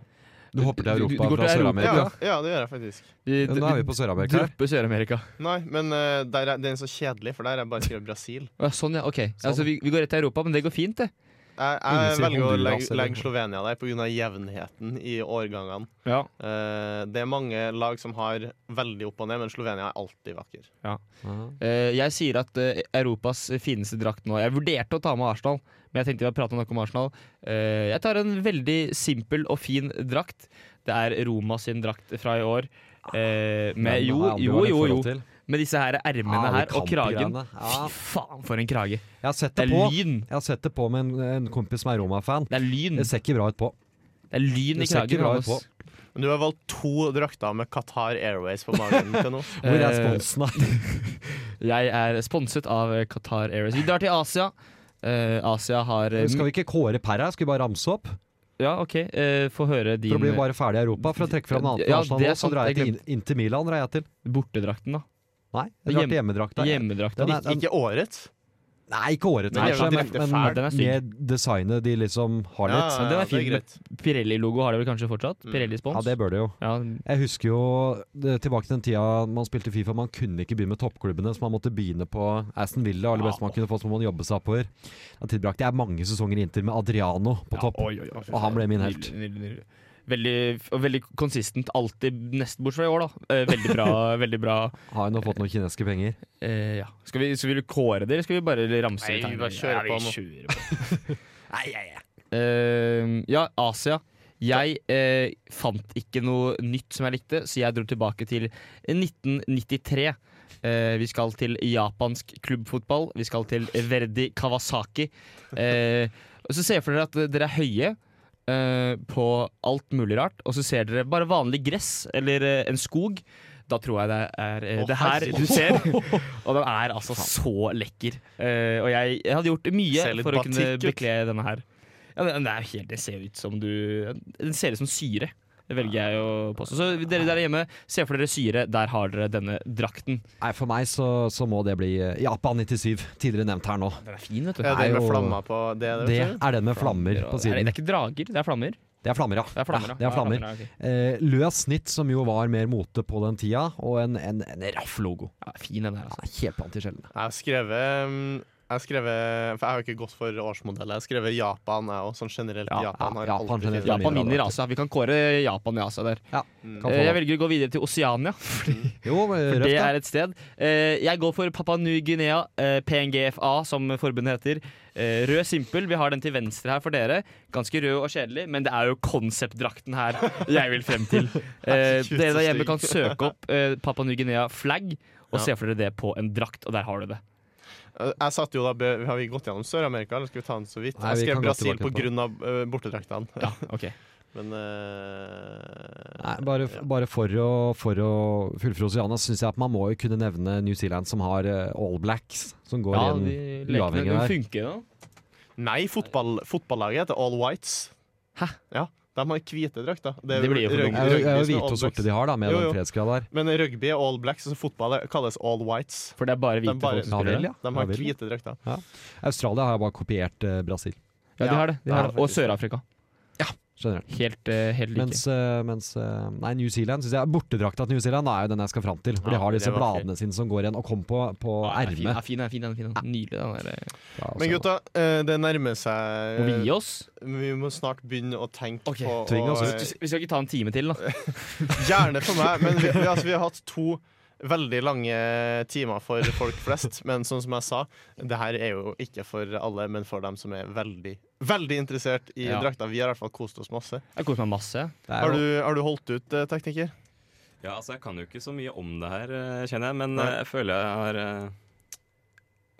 Du hopper til Europa du går fra til Sør-Amerika? Ja, ja, det gjør jeg faktisk. Ja, men Da er vi på Sør-Amerika. her. Dropper Sør-Amerika. Nei, men eh, der er, den er så kjedelig, for der er bare skrevet Brasil. Ja, sånn, ja. Ok. Altså, vi, vi går rett til Europa, men det går fint, det. Jeg, jeg velger å legge, legge Slovenia der pga. jevnheten i årgangene. Ja. Eh, det er mange lag som har veldig opp og ned, men Slovenia er alltid vakker. Ja. Eh, jeg sier at eh, Europas fineste drakt nå Jeg vurderte å ta med Arsenal, men jeg tenkte vi hadde pratet nok om Arsenal. Eh, jeg tar en veldig simpel og fin drakt. Det er Roma sin drakt fra i år. Eh, med Den jo, har jeg aldri jo, vært i jo, forhold jo. til. Med disse her ermene Ja, de her og kragen. kampgreiene. Ja. Fy faen, for en krage! Jeg har sett Det det, er på. lyn. Jeg har sett det på med en, en kompis som er Roma-fan. Det er lyn. Det ser ikke bra ut på. Det er lyn Det ser ikke bra ut på. Men du har valgt to drakter med Qatar Airways på [laughs] magen til nå. Hvor er sponsen, da? jeg er sponset av eh, Qatar Airways. Vi drar til Asia. Eh, Asia har [laughs] eh, Skal vi ikke kåre per her? Skal vi bare ramse opp? Ja, OK. eh, Få høre din For å bli bare ferdig i Europa. For å trekke fram noe annet Ja, nasjonalt det er nå, så sant, drar jeg til jeg in- Inter Milan. Drar jeg til. Bortedrakten, da? Nei, jeg drar til Hjem- hjemmedrakta. hjemmedrakta. Ikke- ikke årets? Nei, ikke årets, Nei, kanskje, den er sånn men, direkte men fæl, den er stygg. med designet de liksom har litt. Men den er fin. Pirelli-logo har det vel kanskje fortsatt? Pirelli-spons? Mm. Ja, det bør det jo. Jeg husker jo det, tilbake til den tida man spilte Fifa. Man kunne ikke begynne med toppklubbene, så man måtte begynne på Aston Villa. Eller best man kunne få, så må man jobbe seg oppover. Da tilbrakte jeg mange sesonger i Inter med Adriano på topp, og han ble min helt. Nydelig, nydelig, nydelig. Veldig, og veldig konsistent. Alltid nesten bortsett fra i år, da. Eh, Veldig bra. [laughs] veldig bra Har jeg nå fått noen kinesiske penger? eh, ja. skal, vi, skal vi kåre det, eller skal vi bare ramse Nei, litt vi her? bare kjører ja, på nå. vi kjører på. Eh, ja, Asia. Jeg eh, fant ikke noe nytt som jeg likte, så jeg dro tilbake til 1993. Eh, vi skal til japansk klubbfotball. Vi skal til Verdi Kawasaki. Eh, og så ser jeg for dere at dere er høye eh, på alt mulig rart, og så ser dere bare vanlig gress eller eh, en skog. Da tror jeg det er eh, Å, det her herregud. du ser. [laughs] Og den er altså så lekker. Eh, og jeg, jeg hadde gjort mye Ser litt for å kunne batikk ut. bekle denne her. Ja, den, den, er jo helt, den ser ut som du Den ser ut som syre. Det velger jeg å påstå. Så dere der hjemme, se for dere syre. Der har dere denne drakten. Nei, For meg så, så må det bli eh, Japan 97, tidligere nevnt her nå. Den er fin, vet du. Ja, er den med jo- flammer på det, det, vet Det du. er den med flammer på Er det, siden. det er ikke drager, det er flammer. Det er flammer, ja. er flammer, ja. ja. Det er flammer. Ja, flammer, Eh, løs snitt, som jo var mer mote på den tida, og en, en, en raff logo. fin den der, altså. Helt blant de sjeldne. Jeg har skrevet mm, jeg har skrevet, for jeg har jo ikke gått for årsmodell. Jeg har skrevet Japan, jeg òg. Sånn generelt. Japan, har alltid fine drakter. Japan vinner Asia. Vi kan kåre Japan i Asia der. Mm. Eh, Jeg velger å gå videre til Oseania, fordi, for røft, det da. er et sted. Eh, Jeg går for Papua Ny-Guinea, eh, PNGFA, som forbundet heter. Eh, Rød simpel, vi har den til venstre her for dere. Ganske rød og kjedelig, men det er jo konseptdrakten her jeg vil frem [laughs] til. Eh, Herregud, så Dere der hjemme kan stygg. søke opp eh, Papua Ny-Guinea flagg, og Ja. se for dere det på en drakt, og der har du det. Eh, Jeg satt jo da, be- Har vi gått gjennom Sør-Amerika, eller skal vi ta den så vidt? Nei, vi jeg kan skrev gå Brasil tilbake på det. pga. eh, bortedraktene. Ja, [laughs] ok Men eh, Nei, bare, bare for å, for å fullføre Oceana, syns jeg at man må jo kunne nevne New Zealand, som har eh, All Blacks, som går Ja, inn de lekene, uavhengig de der. funker jo. Nei, fotball, fotballaget heter All Whites. Hæ? Ja, De har hvite drakter. Det blir jo for dumt. Det er jo- det er jo hvite og sorte de har, da, med den fredsgrad der. Men rugby er all blacks, og fotball er- kalles all whites. For det er bare De hvite folk som ja, spiller vel, det. ja. De har Ja, vel, ja. hvite drakter. Ja. Australia har jo bare kopiert eh, Brasil. Ja, de har det. De har Ja, det. Og faktisk. Sør-Afrika. Generelt. Helt, eh, helt like. Mens, eh, mens eh, Nei, New Zealand synes jeg Bortedrakta til New Zealand er jo den jeg skal fram til. For de Ja, har disse det var bladene sine som går igjen, og kom på, på Den er fin, den er ermet. fin, den er fin, den er fin. den er Nydelig, den der. eh. Men gutta, eh, det nærmer seg Må vi gi oss? Vi må snart begynne å tenke på Tving å- oss ut. Vi skal ikke ta en time til, da. Gjerne for meg, men vi, vi, altså, vi har hatt to veldig lange timer for folk flest. Men sånn som jeg sa, det her er jo ikke for alle, men for dem som er veldig Veldig interessert i Ja. drakta. Vi har i hvert fall kost oss masse. Jeg koser meg masse. Har du, har du holdt ut, eh, tekniker? Ja, altså jeg kan jo ikke så mye om det her, eh, kjenner jeg, men Nei. eh, jeg føler jeg har eh,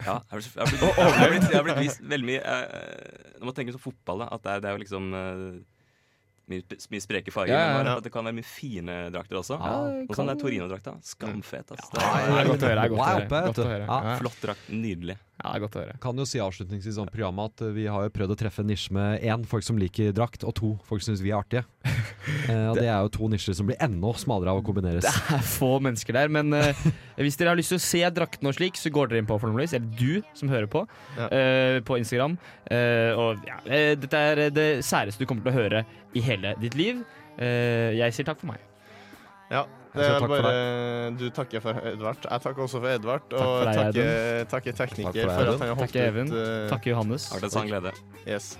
Ja, jeg har blitt, jeg har blitt, jeg har blitt, jeg har blitt vist veldig mye eh, Når man tenker på fotball, da, at det er, det er jo liksom eh, mye, sp- mye spreke farger. Ja, ja, men bare ja. At det kan være mye fine drakter også. Ja, det og sånn kan- er Torino-drakta. Skamfet. ass. Ja, det er godt å høre, det er godt å høre. Oppe, vet Godt å du. høre. Ja, Ja. flott drakt. Nydelig. Ja, det er godt å høre. Kan jo si avslutningsvis om programmet at eh, vi har jo prøvd å treffe en nisje med én folk som liker drakt, og to folk som syns vi er artige. Eh, og det er jo to nisjer som blir enda smalere av å kombineres. Det er få mennesker der, men [laughs] eh, hvis dere har lyst til å se draktene og slik, så går dere inn på Formel Race, eller du som hører på, eh, på Instagram. Eh, og ja, eh, dette er det særeste du kommer til å høre i hele ditt liv. Eh, jeg sier takk for meg. Ja. Det Jeg sier er takk for bare Du takker for Edvard. Jeg takker også for Edvard. Og for deg, takker, Even. takker tekniker Takk for deg, for, Even. at han har holdt Takker Even. ut. eh, Takker Johannes. Har vært en sann glede. Yes.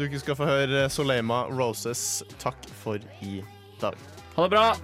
Du skal få høre Soleima Roses. Takk for i dag. Ha det bra!